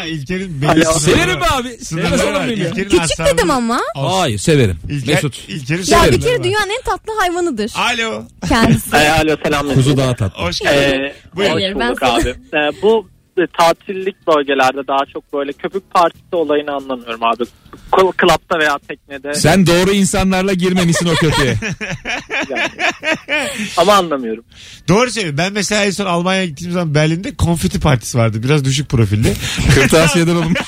Speaker 2: İlker'in belli sınırları
Speaker 4: Severim
Speaker 2: var.
Speaker 4: abi. Sevmez
Speaker 2: Sınırları
Speaker 4: olur
Speaker 2: var.
Speaker 4: muyum ya?
Speaker 2: İlker'in
Speaker 3: küçük
Speaker 2: asabı-
Speaker 3: dedim ama.
Speaker 4: Hayır severim.
Speaker 2: İlker,
Speaker 4: Mesut.
Speaker 2: İlker'in
Speaker 3: Ya
Speaker 2: sınırları
Speaker 3: bir kere
Speaker 2: var.
Speaker 3: dünyanın en tatlı hayvanıdır
Speaker 2: Alo.
Speaker 3: kendisi.
Speaker 5: Ay, alo selam.
Speaker 4: Kuzu daha tatlı.
Speaker 2: Hoş geldin.
Speaker 5: Ee,
Speaker 2: Buyurun.
Speaker 5: hoş
Speaker 3: Hayır, ben
Speaker 5: bulduk
Speaker 3: sana-
Speaker 5: abi. Ee, bu e, tatillik bölgelerde daha çok böyle köpük partisi olayını anlamıyorum abi. Kl- Klapta veya teknede
Speaker 4: Sen doğru insanlarla girmemişsin o kötüye.
Speaker 5: ama anlamıyorum.
Speaker 2: Doğru söylüyor. Ben mesela en son Almanya'ya gittiğim zaman Berlin'de konfeti partisi vardı. Biraz düşük profilde.
Speaker 4: Kırtasiyeden olmuş.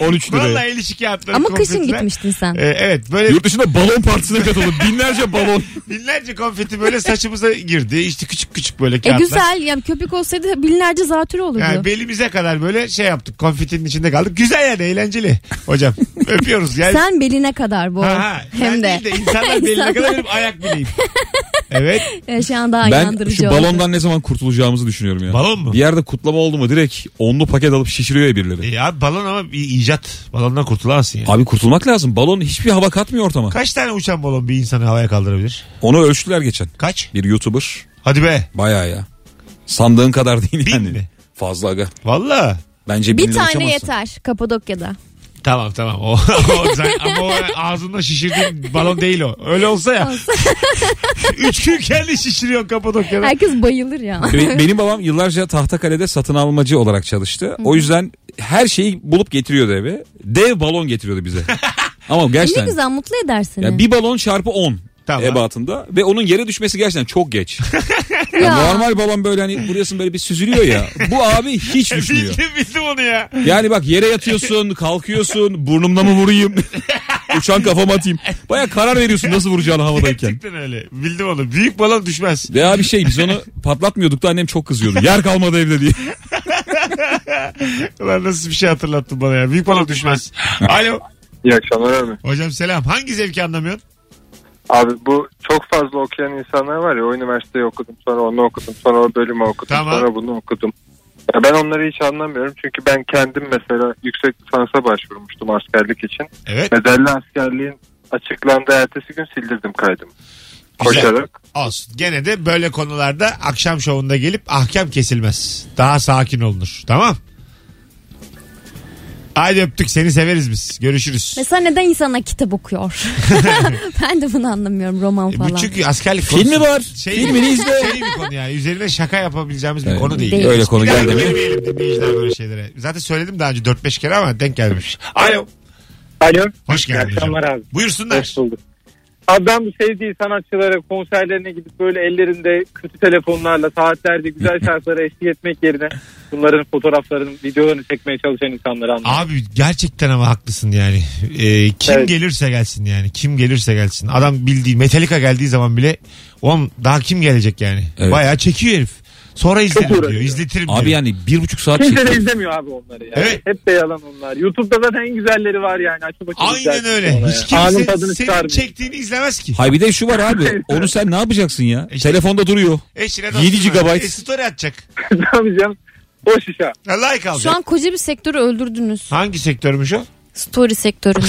Speaker 4: 13
Speaker 2: Valla
Speaker 4: liraya.
Speaker 2: el işi kağıtları
Speaker 3: ama kışın
Speaker 2: konfetiler.
Speaker 3: gitmiştin sen.
Speaker 2: Ee, evet böyle
Speaker 4: Yurt dışında balon partisine katıldım. Binlerce balon.
Speaker 2: binlerce konfeti böyle saçımıza girdi. İşte küçük küçük böyle
Speaker 3: E
Speaker 2: kağıtlar.
Speaker 3: güzel yani köpük olsaydı binlerce zatürre olurdu.
Speaker 2: Yani belimize kadar böyle şey yaptık. Konfetinin içinde kaldık. Güzel yani eğlenceli. Hocam öpüyoruz. Yani
Speaker 3: Sen beline kadar bu.
Speaker 2: Ha, ha.
Speaker 3: Hem de.
Speaker 2: Ben değil insanlar beline kadar benim ayak bileyim. Evet.
Speaker 3: E, şu an daha
Speaker 4: Ben
Speaker 3: inandırıcı
Speaker 4: şu
Speaker 3: oldu.
Speaker 4: balondan ne zaman kurtulacağımızı düşünüyorum ya.
Speaker 2: Balon mu?
Speaker 4: Bir yerde kutlama oldu mu direkt onlu paket alıp şişiriyor ya birileri.
Speaker 2: E abi balon ama bir icat. Balondan kurtulamazsın yani.
Speaker 4: Abi kurtulmak lazım. Balon hiçbir hava katmıyor ortama.
Speaker 2: Kaç tane uçan balon bir insanı havaya kaldırabilir?
Speaker 4: Onu ölçtüler geçen.
Speaker 2: Kaç?
Speaker 4: Bir YouTuber.
Speaker 2: Hadi be.
Speaker 4: Bayağı ya. Sandığın kadar değil
Speaker 2: Bin
Speaker 4: yani.
Speaker 2: mi?
Speaker 4: Fazla aga.
Speaker 2: Valla.
Speaker 4: Bence
Speaker 3: Bir
Speaker 4: binle
Speaker 3: tane
Speaker 4: uçamazsın.
Speaker 3: yeter Kapadokya'da.
Speaker 2: Tamam tamam. O, o zaten- ama o ağzında şişirdiğin balon değil o. Öyle olsa ya. Üç gün kendi şişiriyorsun Kapadokya'da.
Speaker 3: Herkes bayılır ya.
Speaker 4: Be- Benim babam yıllarca Tahtakale'de satın almacı olarak çalıştı. O yüzden her şeyi bulup getiriyordu eve. Dev balon getiriyordu bize. Ama
Speaker 3: ne
Speaker 4: gerçekten.
Speaker 3: güzel mutlu eder seni.
Speaker 4: Ya bir balon çarpı 10
Speaker 2: Tamam.
Speaker 4: ebatında ve onun yere düşmesi gerçekten çok geç. Ya
Speaker 3: Ya.
Speaker 4: normal balon böyle hani burasın böyle bir süzülüyor ya. Bu abi hiç düşmüyor.
Speaker 2: Bildim bildim onu ya.
Speaker 4: Yani bak yere yatıyorsun, kalkıyorsun, burnumla mı vurayım? Uçan kafama atayım. Baya karar veriyorsun nasıl vuracağını havadayken.
Speaker 2: Gerçekten öyle. Bildim onu. Büyük balon düşmez.
Speaker 4: Ve abi şey biz onu patlatmıyorduk da annem çok kızıyordu. Yer kalmadı evde diye.
Speaker 2: Ulan nasıl bir şey hatırlattın bana ya. Büyük balon düşmez. Alo.
Speaker 7: İyi akşamlar abi.
Speaker 2: Hocam selam. Hangi zevki anlamıyorsun?
Speaker 7: Abi bu çok fazla okuyan insanlar var ya o üniversiteyi okudum sonra onu okudum sonra o bölümü okudum
Speaker 2: Tamam.
Speaker 7: sonra bunu okudum. Ya ben onları hiç anlamıyorum çünkü ben kendim mesela yüksek lisansa başvurmuştum askerlik için.
Speaker 2: Evet.
Speaker 7: Bedelli askerliğin açıklandığı ertesi gün sildirdim kaydımı.
Speaker 2: Güzel.
Speaker 7: Koşarak.
Speaker 2: Olsun. Gene de böyle konularda akşam şovunda gelip ahkam kesilmez. Daha sakin olunur. Tamam. Haydi öptük. Seni severiz biz. Görüşürüz.
Speaker 3: Mesela neden insana kitap okuyor? ben de bunu anlamıyorum roman
Speaker 2: E bu
Speaker 3: falan.
Speaker 2: çünkü askerlik
Speaker 4: Filmi var. Filmini izle.
Speaker 2: Şey bir konu yani. Üzerine şaka yapabileceğimiz bir
Speaker 4: Evet.
Speaker 2: konu değil.
Speaker 3: Değil.
Speaker 4: Öyle konu
Speaker 2: Bir daha
Speaker 4: geldi mi?
Speaker 2: girmeyelim dinleyiciler böyle şeylere. Zaten söyledim daha önce 4-5 kere ama denk gelmiş. Alo.
Speaker 5: Alo.
Speaker 2: Hoş geldin hocam.
Speaker 5: akşamlar abi.
Speaker 2: Buyursunlar.
Speaker 5: bulduk. Abi ben bu sevdiği sanatçılara konserlerine gidip böyle ellerinde kötü telefonlarla saatlerce güzel şarkılara eşlik etmek yerine bunların fotoğraflarını, videolarını çekmeye çalışan insanları anlıyorum.
Speaker 2: Abi gerçekten ama haklısın yani. Ee, kim
Speaker 5: Evet.
Speaker 2: gelirse gelsin yani. Kim gelirse gelsin. Adam bildiği Metallica geldiği zaman bile oğlum daha kim gelecek yani.
Speaker 4: Evet.
Speaker 2: Bayağı çekiyor herif. Sonra izlerim
Speaker 5: uğraşıyor.
Speaker 2: diyor. İzletirim
Speaker 4: Abi
Speaker 2: diyor.
Speaker 4: yani bir buçuk saat
Speaker 5: Kimse de
Speaker 4: çekiyor.
Speaker 5: izlemiyor abi onları ya.
Speaker 2: Evet.
Speaker 5: Hep de yalan onlar. YouTube'da zaten en güzelleri var yani. Açıp açıp
Speaker 2: Aynen
Speaker 5: izlersin
Speaker 2: öyle.
Speaker 5: sonra
Speaker 2: Hiç
Speaker 5: ya. Anın
Speaker 2: kimse senin
Speaker 5: tadını çıkarmıyor.
Speaker 2: çektiğini izlemez ki.
Speaker 4: Hay bir de şu var abi. Onu sen ne yapacaksın ya?
Speaker 2: İşte-
Speaker 4: Telefonda duruyor.
Speaker 2: Eşine
Speaker 4: 7
Speaker 2: dostuna
Speaker 4: gigabyte.
Speaker 2: E, story atacak.
Speaker 5: Tabii canım. Boş iş ha.
Speaker 2: Like alacak.
Speaker 3: Şu an koca bir sektörü öldürdünüz.
Speaker 2: Hangi sektörmüş o?
Speaker 3: Story sektörünü.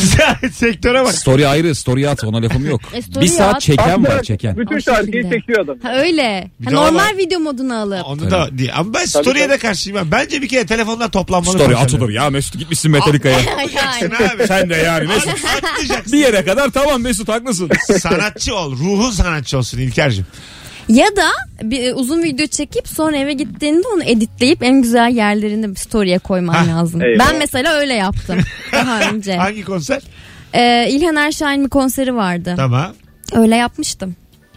Speaker 2: Sektöre bak.
Speaker 4: Story ayrı, story at. Ona lafım yok.
Speaker 3: E, story
Speaker 4: bir saat
Speaker 3: at.
Speaker 4: çeken
Speaker 5: Aslında
Speaker 4: var çeken.
Speaker 5: Bütün
Speaker 3: O
Speaker 5: şarkıyı
Speaker 3: şekilde.
Speaker 5: çekiyor adam.
Speaker 3: Ha, öyle.
Speaker 2: Bir
Speaker 3: Ha,
Speaker 2: de o var.
Speaker 3: normal video modunu alıp.
Speaker 2: Onu da diye. Ama ben story'e de karşıyım. ben. Bence bir kere telefonlar toplanmalı.
Speaker 4: Story
Speaker 2: konserler.
Speaker 4: atılır ya Mesut gitmişsin Metallica'ya.
Speaker 3: Ay, ay.
Speaker 2: Sen abi.
Speaker 4: Sen de yani Mesut.
Speaker 2: Atlayacaksın.
Speaker 4: bir yere kadar tamam Mesut haklısın.
Speaker 2: sanatçı ol. Ruhun sanatçı olsun İlker'cim.
Speaker 3: ya da bir e, uzun video çekip sonra eve gittiğinde onu editleyip en güzel yerlerinde bir story'e koyman
Speaker 2: Hah,
Speaker 3: lazım.
Speaker 5: eyvah.
Speaker 3: Ben mesela öyle yaptım daha önce.
Speaker 2: Hangi konser?
Speaker 3: Ee, İlhan Erşahin bir konseri vardı.
Speaker 2: Tamam.
Speaker 3: Öyle yapmıştım.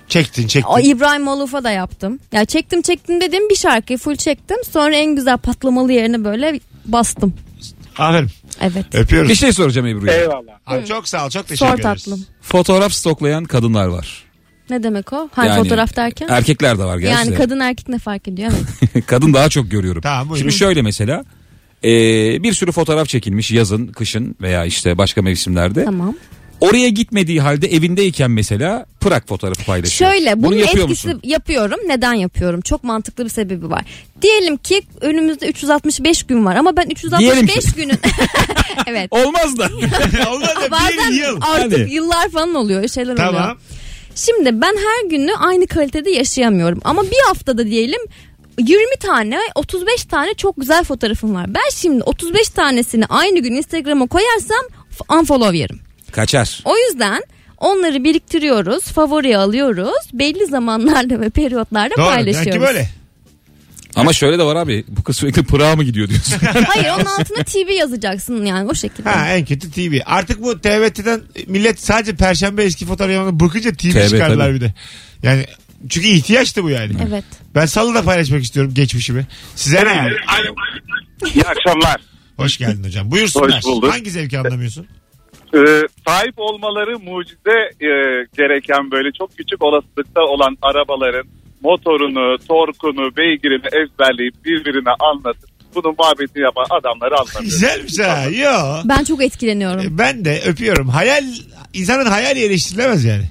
Speaker 2: Çektin çektin.
Speaker 3: O İbrahim Oluf'a da yaptım. Ya çektim çektim dedim bir şarkıyı full çektim. Sonra en güzel patlamalı yerine böyle bastım.
Speaker 2: Aferin.
Speaker 3: Evet.
Speaker 2: Öpüyoruz.
Speaker 4: bir şey soracağım Ebru'ya.
Speaker 5: Eyvallah.
Speaker 2: Abi çok sağ ol. Çok teşekkür
Speaker 3: Sor
Speaker 2: ederiz.
Speaker 3: tatlım.
Speaker 4: Fotoğraf stoklayan kadınlar var.
Speaker 3: Ne demek o? Hayır
Speaker 4: Yani
Speaker 3: fotoğraf derken?
Speaker 4: Erkekler de var gerçi.
Speaker 3: yani
Speaker 4: de.
Speaker 3: kadın erkek ne fark ediyor? Evet.
Speaker 4: Kadın daha çok görüyorum.
Speaker 2: Tamam, buyurun.
Speaker 4: Şimdi şöyle mesela e, bir sürü fotoğraf çekilmiş yazın, kışın veya işte başka mevsimlerde.
Speaker 3: tamam.
Speaker 4: Oraya gitmediği halde evindeyken mesela Pırak fotoğrafı paylaşıyor.
Speaker 3: Şöyle bunun
Speaker 4: Bunu yapıyor
Speaker 3: etkisi
Speaker 4: musun?
Speaker 3: yapıyorum. Neden yapıyorum? Çok mantıklı bir sebebi var. Diyelim ki önümüzde 365 gün var ama ben
Speaker 4: Diyelim
Speaker 3: 365
Speaker 4: ki.
Speaker 3: günün evet.
Speaker 4: Olmaz da.
Speaker 2: Olmaz da
Speaker 3: Bazen
Speaker 2: bir yıl.
Speaker 3: artık
Speaker 4: Hadi.
Speaker 3: yıllar falan oluyor, şeyler oluyor.
Speaker 2: Tamam.
Speaker 3: Şimdi ben her günü aynı kalitede yaşayamıyorum ama bir haftada diyelim 20 tane 35 tane çok güzel fotoğrafım var. Ben şimdi 35 tanesini aynı gün Instagram'a koyarsam f- unfollow yerim.
Speaker 4: Kaçar.
Speaker 3: O yüzden onları biriktiriyoruz, favoriye alıyoruz. Belli zamanlarda ve periyotlarda
Speaker 2: Doğru.
Speaker 3: paylaşıyoruz.
Speaker 2: Belki böyle.
Speaker 4: Ama şöyle de var abi. Bu kız sürekli Pırak'a mı gidiyor diyorsun.
Speaker 3: Hayır onun altına TV yazacaksın yani o şekilde.
Speaker 2: Ha en kötü TV. Artık bu TVT'den millet sadece perşembe eski fotoğraflarına bakınca TV
Speaker 4: TV
Speaker 2: çıkardılar
Speaker 4: tabii.
Speaker 2: bir de. Yani çünkü ihtiyaçtı bu yani.
Speaker 3: Evet.
Speaker 2: Ben salı da paylaşmak istiyorum geçmişimi. Size ne yani?
Speaker 9: İyi akşamlar.
Speaker 2: Hoş geldin hocam. Buyursunlar.
Speaker 9: Hoş bulduk.
Speaker 2: Hangi zevki anlamıyorsun?
Speaker 9: Ee, sahip olmaları mucize e, gereken böyle çok küçük olasılıkta olan arabaların motorunu, torkunu, beygirini ezberleyip birbirine anlatıp bunun muhabbetini yapan adamları anlamıyorum.
Speaker 2: Güzelmiş ha. Yo.
Speaker 3: Ben çok etkileniyorum.
Speaker 2: E, Ben de öpüyorum. Hayal, insanın hayali eleştirilemez yani.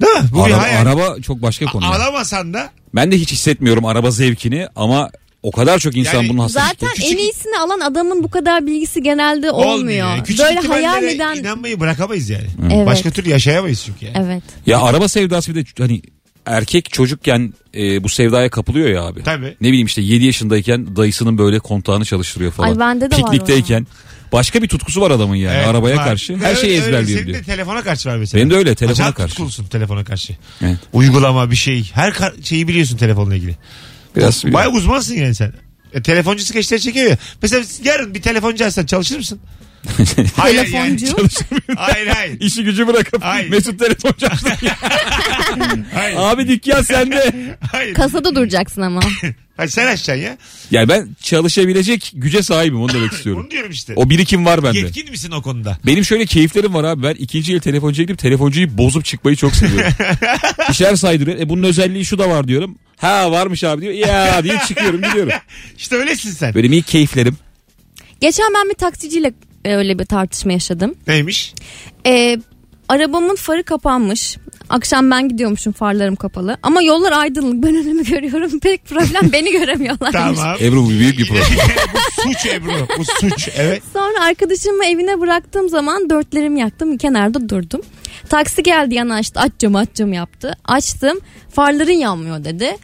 Speaker 2: Değil mi? Bu bir
Speaker 4: araba,
Speaker 2: hayal.
Speaker 4: araba çok başka konu. ya.
Speaker 2: Alamasan da
Speaker 4: Ben de hiç hissetmiyorum araba zevkini ama o kadar çok insan
Speaker 2: Yani-
Speaker 4: bunun hassas.
Speaker 3: Zaten
Speaker 2: Küçük-
Speaker 3: en iyisini alan adamın bu kadar bilgisi genelde olmuyor.
Speaker 2: Küçük
Speaker 3: Böyle
Speaker 2: ihtimallere
Speaker 3: hayal eden
Speaker 2: inanmayı bırakamayız yani.
Speaker 3: Evet.
Speaker 2: Başka türlü yaşayamayız çünkü yani.
Speaker 3: Evet.
Speaker 4: Ya araba sevdası bir de hani erkek çocukken e, bu sevdaya kapılıyor ya abi.
Speaker 2: Tabii.
Speaker 4: Ne bileyim işte 7 yaşındayken dayısının böyle kontağını çalıştırıyor falan.
Speaker 3: Ay bende de var o
Speaker 4: Piknikteyken. Başka bir tutkusu var adamın yani
Speaker 2: Evet,
Speaker 4: arabaya
Speaker 2: var.
Speaker 4: karşı.
Speaker 2: Öyle-
Speaker 4: Her şeyi
Speaker 2: öyle.
Speaker 4: ezberliyor
Speaker 2: Senin
Speaker 4: diyor.
Speaker 2: de telefona karşı var mesela.
Speaker 4: Benim de öyle, telefona
Speaker 2: Acayip
Speaker 4: karşı.
Speaker 2: tutkulsun telefona karşı.
Speaker 4: Evet.
Speaker 2: Uygulama bir şey. Her kar- şeyi biliyorsun telefonla ilgili.
Speaker 4: Biraz
Speaker 2: Bayağı uzmansın yani sen. E, telefoncu skeçleri çekiyor ya. Mesela yarın bir telefoncu açsan çalışır mısın? hayır, yani.
Speaker 3: Telefoncu.
Speaker 2: hayır hayır.
Speaker 4: İşi gücü bırakıp
Speaker 2: Ay.
Speaker 4: Mesut telefon çaldı.
Speaker 2: Hayır.
Speaker 4: Abi dükkan sende.
Speaker 2: hayır.
Speaker 3: Kasada duracaksın ama.
Speaker 2: Hayır, sen açacaksın ya.
Speaker 4: Yani ben çalışabilecek güce sahibim onu demek istiyorum.
Speaker 2: Bunu diyorum işte.
Speaker 4: O birikim var bende.
Speaker 2: Yetkin misin o konuda?
Speaker 4: Benim şöyle keyiflerim var abi. Ben ikinci el telefoncuya gidip telefoncuyu bozup çıkmayı çok seviyorum. Bir şeyler saydırıyor. E bunun özelliği şu da var diyorum. Ha varmış abi diyor. Ya diye çıkıyorum gidiyorum.
Speaker 2: İşte öylesin sen.
Speaker 4: Böyle ilk keyiflerim.
Speaker 3: Geçen ben bir taksiciyle e, öyle bir tartışma yaşadım.
Speaker 2: Neymiş?
Speaker 3: E, arabamın farı kapanmış. Akşam ben gidiyormuşum farlarım kapalı. Ama yollar aydınlık. Ben önümü görüyorum. Pek problem beni göremiyorlarmış.
Speaker 2: Tamam.
Speaker 4: Ebru bu büyük bir problem.
Speaker 2: bu suç Ebru. Bu suç. Evet.
Speaker 3: Sonra arkadaşımı evine bıraktığım zaman dörtlerimi yaktım. Kenarda durdum. Taksi geldi yanaştı. Aç camı aç camı yaptı. Açtım. Farların yanmıyor dedi.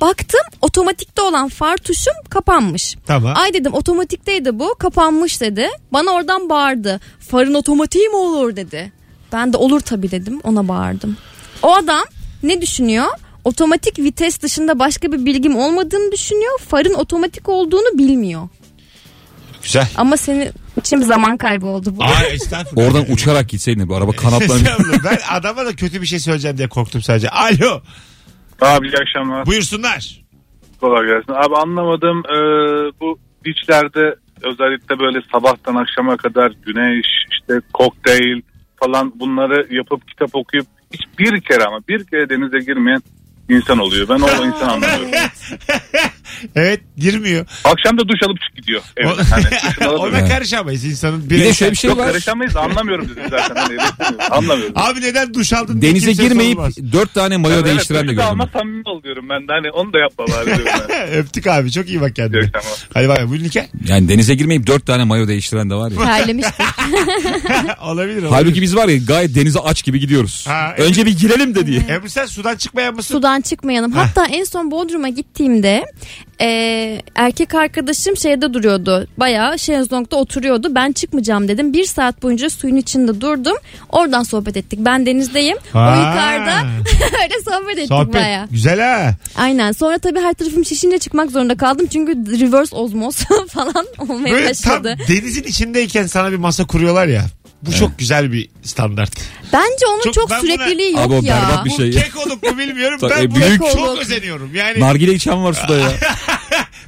Speaker 3: Baktım otomatikte olan far tuşum kapanmış.
Speaker 2: Tamam.
Speaker 3: Ay dedim otomatikteydi bu kapanmış dedi. Bana oradan bağırdı. Farın otomatiği mi olur dedi. Ben de olur tabii dedim ona bağırdım. O adam ne düşünüyor? Otomatik vites dışında başka bir bilgim olmadığını düşünüyor. Farın otomatik olduğunu bilmiyor.
Speaker 2: Güzel.
Speaker 3: Ama senin için bir zaman kaybı oldu bu.
Speaker 2: Aa, estağfurullah.
Speaker 4: Oradan uçarak gitseydin bu araba kanatlanmış.
Speaker 2: Estağfurullah. ben adama da kötü bir şey söyleyeceğim diye korktum sadece. Alo.
Speaker 9: Abi iyi akşamlar.
Speaker 2: Buyursunlar.
Speaker 9: Kolay gelsin. Abi anlamadım e, bu beachlerde özellikle böyle sabahtan akşama kadar güneş, işte kokteyl falan bunları yapıp kitap okuyup hiç bir kere ama bir kere denize girmeyen insan oluyor. Ben o insan anlamıyorum.
Speaker 2: Evet girmiyor.
Speaker 9: Akşam da duş alıp çık gidiyor. Evet, hani duşunu alıp-
Speaker 2: Ona karışamayız insanın.
Speaker 4: bir de
Speaker 2: bireysel-
Speaker 4: şöyle bir şey
Speaker 9: Yok
Speaker 4: var.
Speaker 9: karışamayız anlamıyorum dedim zaten. Hani, eleştirmiyorum. anlamıyorum.
Speaker 2: Abi neden duş aldın? diye
Speaker 4: Denize
Speaker 2: kimse
Speaker 4: girmeyip
Speaker 2: sormaz.
Speaker 4: dört tane mayo
Speaker 9: Evet,
Speaker 4: değiştiren de
Speaker 9: duş da
Speaker 4: gördüm.
Speaker 9: Ama samimi ol diyorum ben de hani onu da yapma bari diyorum. ben.
Speaker 2: Öptük abi çok iyi bak kendine.
Speaker 9: İyi akşamlar.
Speaker 2: Hadi bay bay. Buyurun İlker.
Speaker 4: Yani denize girmeyip dört tane mayo değiştiren de var ya.
Speaker 3: Terlemiştim.
Speaker 2: olabilir olabilir.
Speaker 4: Halbuki biz var ya gayet denize aç gibi gidiyoruz.
Speaker 2: Ha, evet.
Speaker 4: Önce bir girelim de diye.
Speaker 2: Ebru sen sudan çıkmayan mısın?
Speaker 3: Sudan çıkmayalım. Hatta en son Bodrum'a gittiğimde e, erkek arkadaşım şeyde duruyordu. Bayağı şezlongda oturuyordu. Ben çıkmayacağım dedim. Bir saat boyunca suyun içinde durdum. Oradan sohbet ettik. Ben denizdeyim.
Speaker 2: Ha.
Speaker 3: O yukarıda öyle sohbet ettik
Speaker 2: Sohbet.
Speaker 3: bayağı.
Speaker 2: Güzel ha.
Speaker 3: Aynen. Sonra tabii her tarafım şişince çıkmak zorunda kaldım. Çünkü reverse ozmoz falan olmaya
Speaker 2: Böyle tam
Speaker 3: başladı.
Speaker 2: denizin içindeyken sana bir masa kuruyorlar ya. Bu çok güzel bir standart.
Speaker 3: Bence onun
Speaker 2: Çok-
Speaker 3: çok,
Speaker 2: ben buna-
Speaker 3: sürekliliği
Speaker 4: Abi o
Speaker 3: yok ya.
Speaker 4: berbat bir şey.
Speaker 2: Bu kek olup mu bilmiyorum.
Speaker 4: Tabii,
Speaker 2: ben
Speaker 4: e,
Speaker 2: buna
Speaker 4: büyük-
Speaker 2: çok
Speaker 3: Kekoluk.
Speaker 2: özeniyorum. Yani
Speaker 4: Nargile içen var suda ya.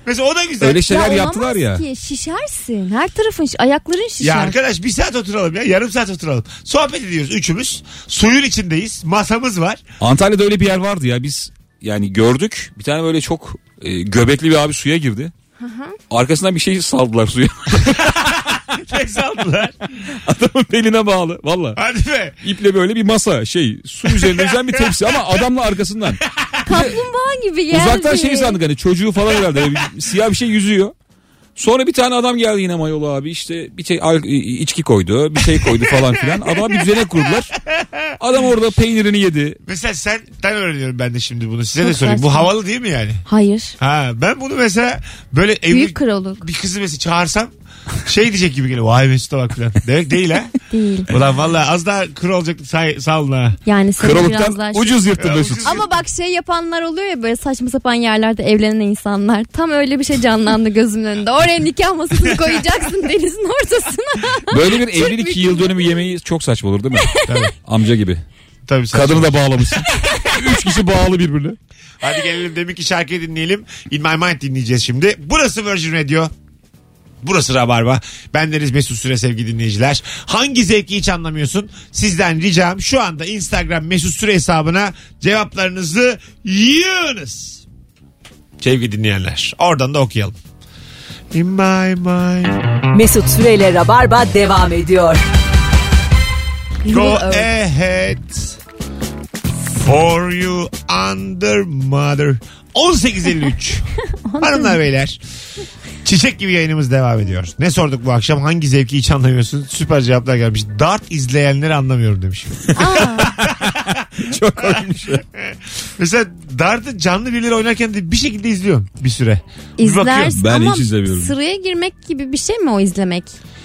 Speaker 2: Mesela o da güzel.
Speaker 4: Öyle şeyler
Speaker 3: olamaz
Speaker 4: yaptılar ya.
Speaker 3: Ki. Şişersin. Her tarafın şi- ayakların şişer.
Speaker 2: Ya arkadaş bir saat oturalım ya yarım saat oturalım. Sohbet ediyoruz üçümüz. Suyun içindeyiz. Masamız var.
Speaker 4: Antalya'da öyle bir yer vardı ya biz yani gördük bir tane böyle çok e, göbekli bir abi suya girdi. Arkasından bir şey saldılar suya.
Speaker 2: Nefes aldılar.
Speaker 4: Adamın beline bağlı valla.
Speaker 2: Hadi be.
Speaker 4: İple böyle bir masa şey su üzerinde yüzen bir tepsi ama adamla arkasından.
Speaker 3: Kaplumbağa gibi geldi.
Speaker 4: Uzaktan şey sandık hani çocuğu falan herhalde Böyle bir siyah bir şey yüzüyor. Sonra bir tane adam geldi yine mayolu abi işte bir şey al- içki koydu bir şey koydu falan filan. Adama bir düzenek kurdular. Adam orada peynirini yedi.
Speaker 2: Mesela senden öğreniyorum ben de şimdi bunu. Size de
Speaker 3: Çok
Speaker 2: sorayım. Bu
Speaker 3: saçma.
Speaker 2: havalı değil mi yani?
Speaker 3: Hayır.
Speaker 2: Ha ben bunu mesela böyle evli
Speaker 3: Büyük krallık
Speaker 2: bir kızı mesela çağırsam şey diyecek gibi geliyor. Vay Mesut'a bak falan. Demek değil ha.
Speaker 3: değil.
Speaker 2: Ulan valla az daha kır olacaktı sağ, sağ olun ha.
Speaker 3: Yani seni biraz daha
Speaker 4: Kralıktan ucuz yırttı
Speaker 2: Ya,
Speaker 4: Mesut.
Speaker 2: ucuz-
Speaker 3: Ama bak şey yapanlar oluyor ya böyle saçma sapan yerlerde evlenen insanlar. Tam öyle bir şey canlandı gözümün önünde. Oraya nikah masasını koyacaksın denizin ortasına.
Speaker 4: Böyle bir
Speaker 3: Türk
Speaker 4: evlilik
Speaker 3: mülkü.
Speaker 4: yıl dönümü yemeği çok saçma olur değil mi?
Speaker 2: Tabii.
Speaker 4: Amca gibi.
Speaker 2: Tabii sen-
Speaker 4: Kadını da bağlamışsın. Üç kişi bağlı birbirine.
Speaker 2: Hadi gelelim demin ki şarkıyı dinleyelim. In My Mind dinleyeceğiz şimdi. Burası Virgin Radio. Burası Rabarba. Ben Deniz Mesut Süre sevgili dinleyiciler. Hangi zevki hiç anlamıyorsun? Sizden ricam şu anda Instagram Mesut Süre hesabına cevaplarınızı yığınız. Sevgili dinleyenler. Oradan da okuyalım. In my mind.
Speaker 1: Mesut Süreyle Rabarba devam ediyor.
Speaker 2: Go
Speaker 3: Earth.
Speaker 2: ahead. For you under mother. 1853. Hanımlar beyler. Çiçek gibi yayınımız devam ediyor. Ne sorduk bu akşam? Hangi zevki hiç anlamıyorsun? Süper cevaplar gelmiş. Dart izleyenleri anlamıyorum demiş.
Speaker 4: Çok hoşmuş.
Speaker 2: Mesela dartı canlı birileri oynarken de bir şekilde izliyorum bir süre. Bir bakıyorum.
Speaker 3: İzlersin
Speaker 4: Ben
Speaker 3: ama
Speaker 4: hiç izlemiyorum.
Speaker 3: sıraya girmek gibi bir şey mi o izlemek?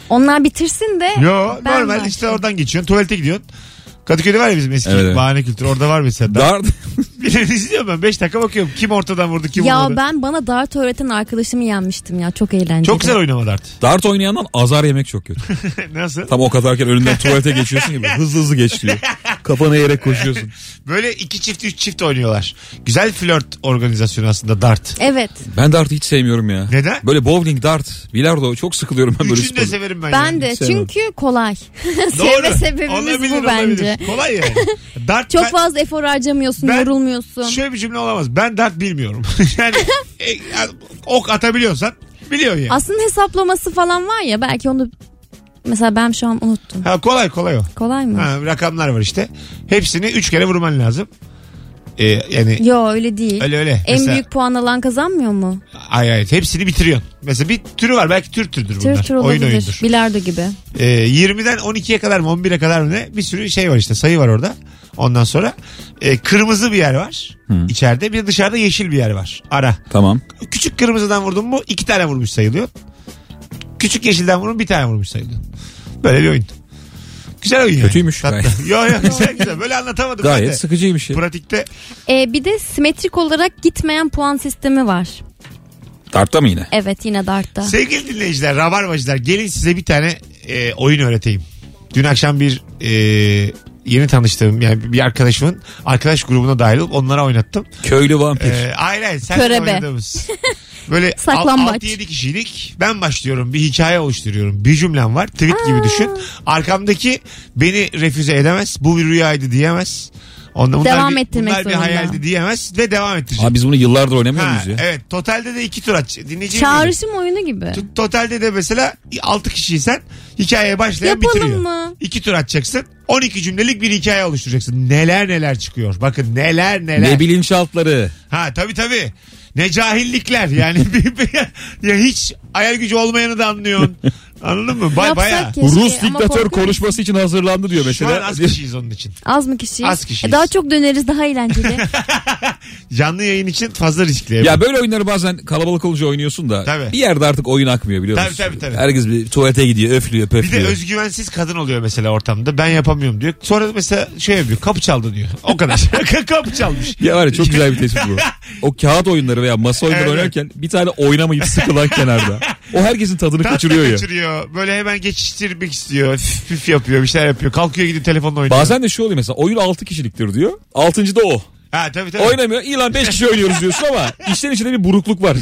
Speaker 3: Onlar bitirsin de
Speaker 2: Yo
Speaker 3: ben
Speaker 2: normal
Speaker 3: başlayayım.
Speaker 2: işte oradan geçiyorsun. Tuvalete gidiyorsun. Kadıköy'de var ya bizim eski
Speaker 4: Evet, evet.
Speaker 2: bahane kültürü. Orada var mesela. Dart.
Speaker 4: Dart.
Speaker 2: Birileri izliyorum ben. 5 dakika bakıyorum. Kim ortadan vurdu kim
Speaker 3: Ya
Speaker 2: vurmadı.
Speaker 3: ben bana dart öğreten arkadaşımı yenmiştim ya çok eğlenceli.
Speaker 2: Çok güzel oynama dart.
Speaker 4: Dart oynayandan azar yemek çok kötü.
Speaker 2: Nasıl?
Speaker 4: Tam o kadarken önünden tuvalete geçiyorsun gibi hızlı hızlı geç diyor. Kafanı eğerek koşuyorsun.
Speaker 2: Böyle iki çift üç çift oynuyorlar. Güzel flört organizasyonu aslında dart.
Speaker 3: Evet
Speaker 4: Ben dartı hiç sevmiyorum ya.
Speaker 2: Neden?
Speaker 4: Böyle bowling, dart, bilardo çok sıkılıyorum ben böyle
Speaker 2: Üçünü de
Speaker 4: sporda.
Speaker 2: severim ben.
Speaker 3: ben de
Speaker 4: hiç sevmem.
Speaker 3: çünkü kolay.
Speaker 2: Doğru.
Speaker 3: Sevme sebebimiz
Speaker 2: Olabilir,
Speaker 3: bu bence.
Speaker 2: olabilir. Kolay yani. Dart
Speaker 3: Çok
Speaker 2: ben-
Speaker 3: fazla efor harcamıyorsun
Speaker 2: Ben-
Speaker 3: yorulmuyorsun.
Speaker 2: Şöyle bir cümle olamaz. Ben dart bilmiyorum. yani e, yani ok atabiliyorsan biliyorsun yani.
Speaker 3: Aslında hesaplaması falan var ya belki onu mesela ben şu an unuttum.
Speaker 2: Ha, kolay kolay o.
Speaker 3: Kolay mı?
Speaker 2: Ha, rakamlar var işte. Hepsini üç kere vurman lazım. Ee, yani
Speaker 3: Yo öyle değil.
Speaker 2: öyle öyle.
Speaker 3: En
Speaker 2: Mesela-
Speaker 3: büyük puan alan kazanmıyor mu?
Speaker 2: Ay ay hepsini bitiriyorsun. Mesela bir türü var belki tür türdür bunlar.
Speaker 3: Tır tır
Speaker 2: Oyun
Speaker 3: olabilir.
Speaker 2: oyundur.
Speaker 3: Bilardo gibi.
Speaker 2: Ee, 20'den 12'ye kadar mı 11'e kadar mı ne bir sürü şey var işte sayı var orada. Ondan sonra e, kırmızı bir yer var içeride bir de dışarıda yeşil bir yer var ara.
Speaker 4: Tamam.
Speaker 2: Küçük kırmızıdan vurdun mu iki tane vurmuş sayılıyor. Küçük yeşilden vurun bir tane vurmuş sayılıyor. Böyle bir oyun. Güzel oyun yani.
Speaker 4: Kötüymüş.
Speaker 2: Tatlı. yo yo güzel güzel böyle anlatamadım. ben de.
Speaker 4: Gayet sıkıcıymış ya.
Speaker 2: Pratikte
Speaker 3: Ee, bir de simetrik olarak gitmeyen puan sistemi var.
Speaker 4: Dart'ta mı yine?
Speaker 3: Evet yine dartta.
Speaker 2: sevgili dinleyiciler rabarbacılar gelin size bir tane e, oyun öğreteyim. Dün akşam bir e, yeni tanıştığım yani bir arkadaşımın arkadaş grubuna dahil olup onlara oynattım.
Speaker 4: Köylü vampir.
Speaker 2: Ee, hayır hayır sen
Speaker 3: Körebe.
Speaker 2: oynadığımız. Böyle
Speaker 3: Saklambaç.
Speaker 2: 6-7 kişilik ben başlıyorum bir hikaye oluşturuyorum. Bir cümlem var tweet gibi düşün. Arkamdaki beni refüze edemez bu bir rüyaydı diyemez. Onda, bunlar
Speaker 3: Devam
Speaker 2: bir,
Speaker 3: ettirmek
Speaker 2: bunlar bir
Speaker 3: zorunda.
Speaker 2: hayaldi diyemez ve devam ettirecek.
Speaker 4: Abi biz bunu yıllardır oynamıyor
Speaker 2: Ha,
Speaker 4: muyuz ya?
Speaker 2: evet totalde de iki tur aç. Dinleyeceğim.
Speaker 3: Çağrışım oyunu gibi.
Speaker 2: Totalde de mesela 6 kişiysen hikayeye başlayan
Speaker 3: Yapalım
Speaker 2: bitiriyor.
Speaker 3: mı?
Speaker 2: 2 tur atacaksın. 12 cümlelik bir hikaye oluşturacaksın. Neler neler çıkıyor. Bakın neler neler.
Speaker 4: Ne bilinçaltları.
Speaker 2: Ha tabii tabii. Ne cahillikler yani bir, bir- ya hiç ayar gücü olmayanı da anlıyorsun. Anladın mı? Bay
Speaker 3: Yapsak
Speaker 2: baya.
Speaker 3: keşke
Speaker 4: Rus
Speaker 3: ama
Speaker 4: diktatör
Speaker 3: korkuyorum.
Speaker 4: konuşması için hazırlandı diyor
Speaker 2: Şu an
Speaker 4: mesela.
Speaker 2: az kişiyiz onun için.
Speaker 3: Az mı kişiyiz?
Speaker 2: Az kişiyiz.
Speaker 3: E, daha çok döneriz daha eğlenceli.
Speaker 2: Canlı yayın için fazla riskli.
Speaker 4: Ya böyle oyunları bazen kalabalık olunca oynuyorsun da
Speaker 2: Tabii.
Speaker 4: bir yerde artık oyun akmıyor biliyor musun?
Speaker 2: Tabii, tabii, tabii.
Speaker 4: Herkes bir tuvalete gidiyor, öflüyor,
Speaker 2: bir de
Speaker 4: pöflüyor.
Speaker 2: özgüvensiz kadın oluyor mesela ortamda. Ben yapamıyorum diyor. Sonra mesela şey yapıyor. Kapı çaldı diyor. O kadar. kapı çalmış.
Speaker 4: Ya var ya çok güzel bir tespit bu. O kağıt oyunları veya masa oyunları
Speaker 2: Evet.
Speaker 4: oynarken bir tane oynamayıp sıkılan kenarda. O herkesin tadını
Speaker 2: Tatlı
Speaker 4: kaçırıyor ya.
Speaker 2: kaçırıyor. Böyle hemen geçiştirmek istiyor. Püf püf yapıyor. Bir şeyler yapıyor. Kalkıyor gidip telefonla oynuyor.
Speaker 4: Bazen de şu oluyor mesela oyun 6 kişiliktir diyor. 6. da o.
Speaker 2: Ha tabii tabii.
Speaker 4: Oynamıyor. İyi lan 5 kişi oynuyoruz diyorsun ama işlerin içinde bir burukluk var.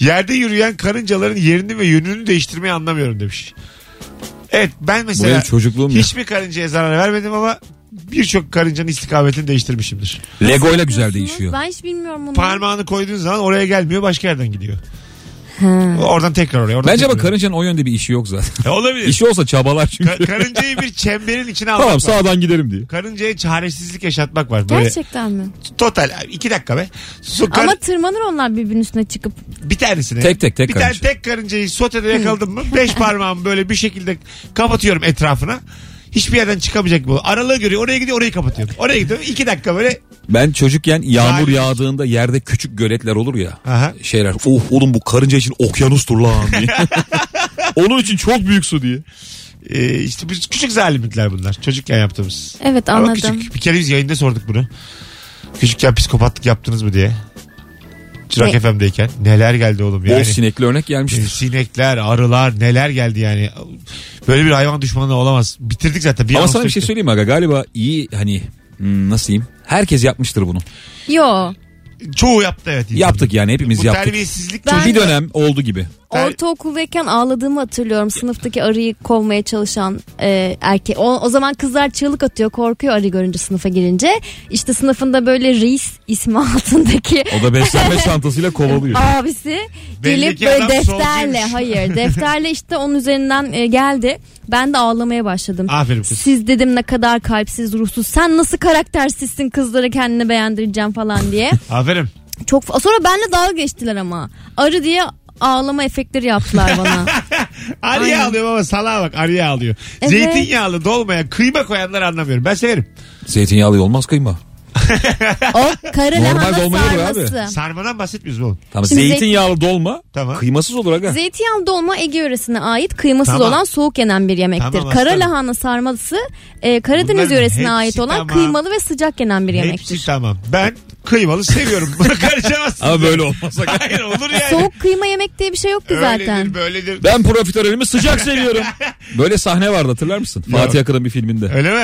Speaker 2: Yerde yürüyen karıncaların yerini ve yönünü değiştirmeyi anlamıyorum demiş. Evet ben
Speaker 4: Bu benim
Speaker 2: mesela
Speaker 4: çocukluğum ya.
Speaker 2: hiçbir karıncaya zarar vermedim ama birçok karıncanın istikametini değiştirmişimdir.
Speaker 4: Lego ile güzel değişiyor.
Speaker 3: Ben hiç bilmiyorum bunu.
Speaker 2: Parmağını koyduğun zaman oraya gelmiyor başka yerden gidiyor.
Speaker 3: Ha.
Speaker 2: Oradan tekrar oraya. Oradan
Speaker 4: Bence
Speaker 2: tekrar
Speaker 4: bak karıncanın o yönde bir işi yok zaten.
Speaker 2: oraya. E, olabilir.
Speaker 4: İşi olsa çabalar
Speaker 2: Ka-
Speaker 4: çünkü.
Speaker 2: karıncayı bir çemberin içine almak
Speaker 4: tamam
Speaker 2: var.
Speaker 4: sağdan giderim diye.
Speaker 2: Karıncaya çaresizlik yaşatmak var. Böyle
Speaker 3: Gerçekten mi?
Speaker 2: total iki dakika be. Su, kar-
Speaker 3: Ama tırmanır onlar birbirinin üstüne çıkıp.
Speaker 2: bir tanesini.
Speaker 4: Tek tek tek
Speaker 2: bir tane
Speaker 4: karınca.
Speaker 2: tek karıncayı sotede yakaladım mı beş parmağımı böyle bir şekilde kapatıyorum etrafına. Hiçbir yerden çıkamayacak bu. Aralığı görüyor. Oraya gidiyor orayı kapatıyorum. Oraya gidiyor. iki dakika böyle.
Speaker 4: Ben çocukken yağmur
Speaker 2: Hayır.
Speaker 4: yağdığında yerde küçük göletler olur ya.
Speaker 2: Aha.
Speaker 4: Şeyler. Oh oğlum bu karınca için okyanustur lan diye. Onun için çok büyük su diye.
Speaker 2: Ee, işte bu küçük zalimlikler bunlar. Çocukken yaptığımız.
Speaker 3: Evet
Speaker 2: Ama
Speaker 3: anladım.
Speaker 2: küçük. Bir kere biz yayında sorduk bunu. Küçükken psikopatlık yaptınız mı diye. Çırak
Speaker 3: Ne?
Speaker 2: FM'deyken. Neler geldi oğlum
Speaker 4: Bol
Speaker 2: yani. Ee,
Speaker 4: sinekli örnek gelmiştir.
Speaker 2: Sinekler, arılar neler geldi yani. Böyle bir hayvan düşmanı olamaz. Bitirdik zaten. Bir
Speaker 4: Ama
Speaker 2: anonsta
Speaker 4: sana bir şey
Speaker 2: bitti.
Speaker 4: söyleyeyim mi aga galiba iyi hani hmm, nasıl diyeyim? Herkes yapmıştır bunu.
Speaker 3: Yo.
Speaker 2: Çoğu yaptı evet.
Speaker 4: Yaptık yani hepimiz
Speaker 2: Bu
Speaker 4: yaptık.
Speaker 2: terbiyesizlik
Speaker 3: Ben-
Speaker 4: Bir dönem oldu gibi.
Speaker 2: Ter-
Speaker 3: Ortaokuldayken ağladığımı hatırlıyorum. Sınıftaki arıyı kovmaya çalışan e, erkek. O, o zaman kızlar çığlık atıyor korkuyor arı görünce sınıfa girince. İşte sınıfında böyle reis ismi altındaki
Speaker 4: O da beslenme çantasıyla kovalıyor.
Speaker 3: abisi
Speaker 2: Belli
Speaker 3: gelip
Speaker 2: ki
Speaker 3: böyle
Speaker 2: adam
Speaker 3: defterle
Speaker 2: solcuymuş.
Speaker 3: hayır defterle işte onun üzerinden e, geldi. Ben de ağlamaya başladım.
Speaker 2: Aferin kız.
Speaker 3: Siz dedim ne kadar kalpsiz ruhsuz sen nasıl karaktersizsin kızlara kendini beğendireceğim falan diye.
Speaker 2: Aferin.
Speaker 3: Çok fa- sonra benle dalga geçtiler ama. Arı diye ağlama efektleri yaptılar bana.
Speaker 2: Arıya
Speaker 3: Aynen.
Speaker 2: alıyor baba salağa bak arıya alıyor.
Speaker 3: Evet.
Speaker 2: Zeytinyağlı dolmaya kıyma koyanları anlamıyorum. Ben severim.
Speaker 4: Zeytinyağlı olmaz kıyma.
Speaker 3: o kara
Speaker 4: Normal
Speaker 3: lahana
Speaker 4: dolma yeri abi.
Speaker 3: sarması.
Speaker 2: Sarmadan bahsetmiyoruz oğlum.
Speaker 4: Tamam
Speaker 3: Şimdi
Speaker 4: zeytinyağlı dolma
Speaker 2: Tamam.
Speaker 4: kıymasız olur aga.
Speaker 3: Zeytinyağlı dolma Ege yöresine ait kıymasız
Speaker 2: Tamam.
Speaker 3: olan soğuk yenen bir yemektir.
Speaker 2: Tamam,
Speaker 3: kara
Speaker 2: aslanım.
Speaker 3: lahana sarması e, Karadeniz
Speaker 2: Bunların hepsi
Speaker 3: yöresine ait olan
Speaker 2: tamam.
Speaker 3: kıymalı ve sıcak yenen bir yemektir.
Speaker 2: Hepsi tamam. Ben kıymalı seviyorum. Buna karışamazsın.
Speaker 4: Ama böyle olmaz.
Speaker 2: Hayır olur yani.
Speaker 3: Soğuk kıyma yemek diye bir şey yoktu zaten.
Speaker 2: Öyledir böyledir.
Speaker 4: Ben profiterolümü sıcak seviyorum. Böyle sahne vardı hatırlar mısın? Fatih Akın'ın bir filminde.
Speaker 2: Öyle mi?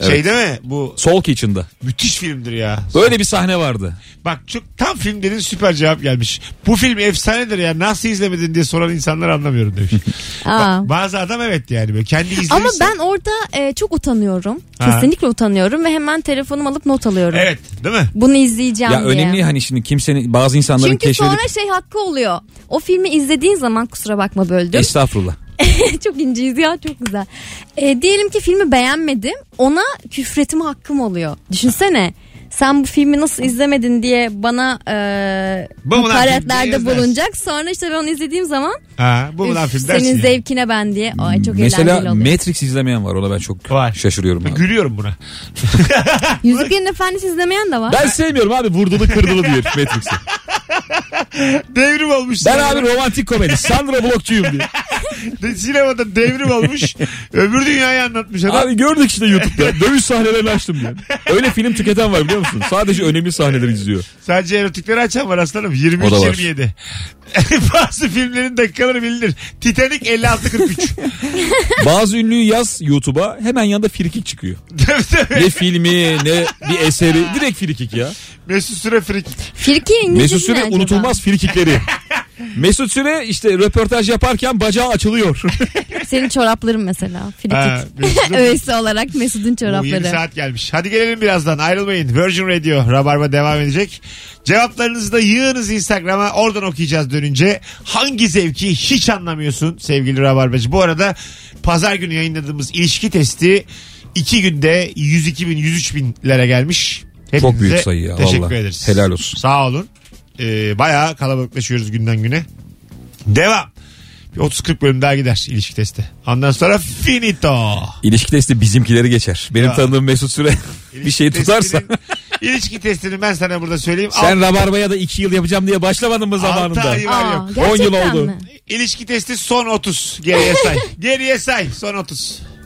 Speaker 4: Evet.
Speaker 2: Şey değil mi? Bu
Speaker 4: Sol Kitchen'da.
Speaker 2: müthiş filmdir ya.
Speaker 4: Böyle bir sahne vardı.
Speaker 2: Bak çok tam film dedin süper cevap gelmiş. Bu film efsanedir ya nasıl izlemedin diye soran insanlar anlamıyorum demiş.
Speaker 3: Aa.
Speaker 2: Ba- Bazı adam evet yani böyle kendi izlerse.
Speaker 3: Ama ben orada e, çok utanıyorum.
Speaker 2: şey Ha.
Speaker 3: Kesinlikle utanıyorum ve hemen telefonumu alıp not alıyorum.
Speaker 2: Evet değil mi?
Speaker 3: Bunu izleyeceğim
Speaker 4: Ya
Speaker 3: diye.
Speaker 4: önemli hani şimdi kimsenin bazı insanların
Speaker 3: Çünkü
Speaker 4: keşfedip
Speaker 3: sonra şey hakkı oluyor. O filmi izlediğin zaman kusura bakma
Speaker 2: E,
Speaker 3: böldüm.
Speaker 4: estağfurullah.
Speaker 3: çok inceyiz ya çok güzel. E, diyelim ki filmi beğenmedim. Ona küfretme hakkım oluyor. Düşünsene. Sen bu filmi nasıl izlemedin diye bana e,
Speaker 2: Bu mu lan film diye
Speaker 3: hakaretlerde
Speaker 2: izlersin.
Speaker 3: bulunacak. Sonra işte ben onu izlediğim zaman
Speaker 2: Ha, bu mu
Speaker 3: "Üf,
Speaker 2: lan film dersin
Speaker 3: senin
Speaker 2: ya.
Speaker 3: zevkine ben diye. Ay çok eğlenceli
Speaker 4: Hmm, Mesela
Speaker 3: oluyor.
Speaker 4: Matrix izlemeyen var ona ben çok
Speaker 2: Var.
Speaker 4: şaşırıyorum. abi.
Speaker 2: Gülüyorum buna.
Speaker 3: Yüzüklerin Efendisi izlemeyen de var.
Speaker 4: Ben sevmiyorum abi vurdulu kırdılı diye Matrix'i.
Speaker 2: Devrim olmuş.
Speaker 4: Ben
Speaker 2: sinemada.
Speaker 4: abi romantik komedi. Sandra Bullock'çuyum diye.
Speaker 2: De- Sinemada devrim olmuş. öbür dünyayı anlatmış adam.
Speaker 4: Abi gördük işte YouTube'da. Dövüş sahnelerini açtım diye. Öyle film tüketen var biliyor musun? Sadece önemli sahneleri izliyor.
Speaker 2: Sadece erotikleri açan var aslanım.
Speaker 4: O da var.
Speaker 2: 23-27. Bazı filmlerin dakikaları bilinir. Titanic 56-43.
Speaker 4: Bazı ünlüyü yaz YouTube'a hemen yanında frikik çıkıyor.
Speaker 2: Tabii, tabii.
Speaker 4: Ne filmi ne bir eseri. Direkt frikik ya.
Speaker 2: Mesut Süre frik.
Speaker 3: Firki İngilizcesi
Speaker 4: Mesut Süre
Speaker 3: ne acaba?
Speaker 4: unutulmaz frikikleri. Mesut Süre işte röportaj yaparken bacağı açılıyor.
Speaker 3: Senin çorapların mesela.
Speaker 2: Ha,
Speaker 3: Frikik.
Speaker 2: Mesut'un-
Speaker 3: Öylesi olarak Mesut'un
Speaker 2: Bu yeni
Speaker 3: çorapları.
Speaker 2: saat gelmiş. Hadi gelelim birazdan ayrılmayın. Virgin Radio Rabarba devam edecek. Cevaplarınızı da yığınız Instagram'a oradan okuyacağız dönünce. Hangi zevki hiç anlamıyorsun sevgili Rabarbacı? Bu arada pazar günü yayınladığımız ilişki testi 2 günde 102 bin 103 binlere gelmiş. Hepinize
Speaker 4: Çok büyük sayı ya
Speaker 2: Teşekkür
Speaker 4: valla.
Speaker 2: ederiz.
Speaker 4: Helal olsun.
Speaker 2: Sağ olun. Ee, bayağı kalabalıklaşıyoruz günden güne. Devam. Bir 30-40 bölüm daha gider ilişki testi. Ondan sonra finito.
Speaker 4: İlişki testi bizimkileri geçer. Benim
Speaker 2: Ya.
Speaker 4: tanıdığım Mesut Süre bir şey
Speaker 2: İlişki
Speaker 4: tutarsa.
Speaker 2: testinin- İlişki testini ben sana burada söyleyeyim.
Speaker 4: Sen Rabarba'ya da 2 yıl yapacağım diye başlamadın mı
Speaker 2: Alt- altı
Speaker 4: zamanında?
Speaker 2: ayı var
Speaker 3: Aa,
Speaker 2: yok.
Speaker 3: gerçekten
Speaker 4: On yıl oldu.
Speaker 3: mi?
Speaker 2: İlişki testi son 30. Geriye say. Geriye say. Son 30.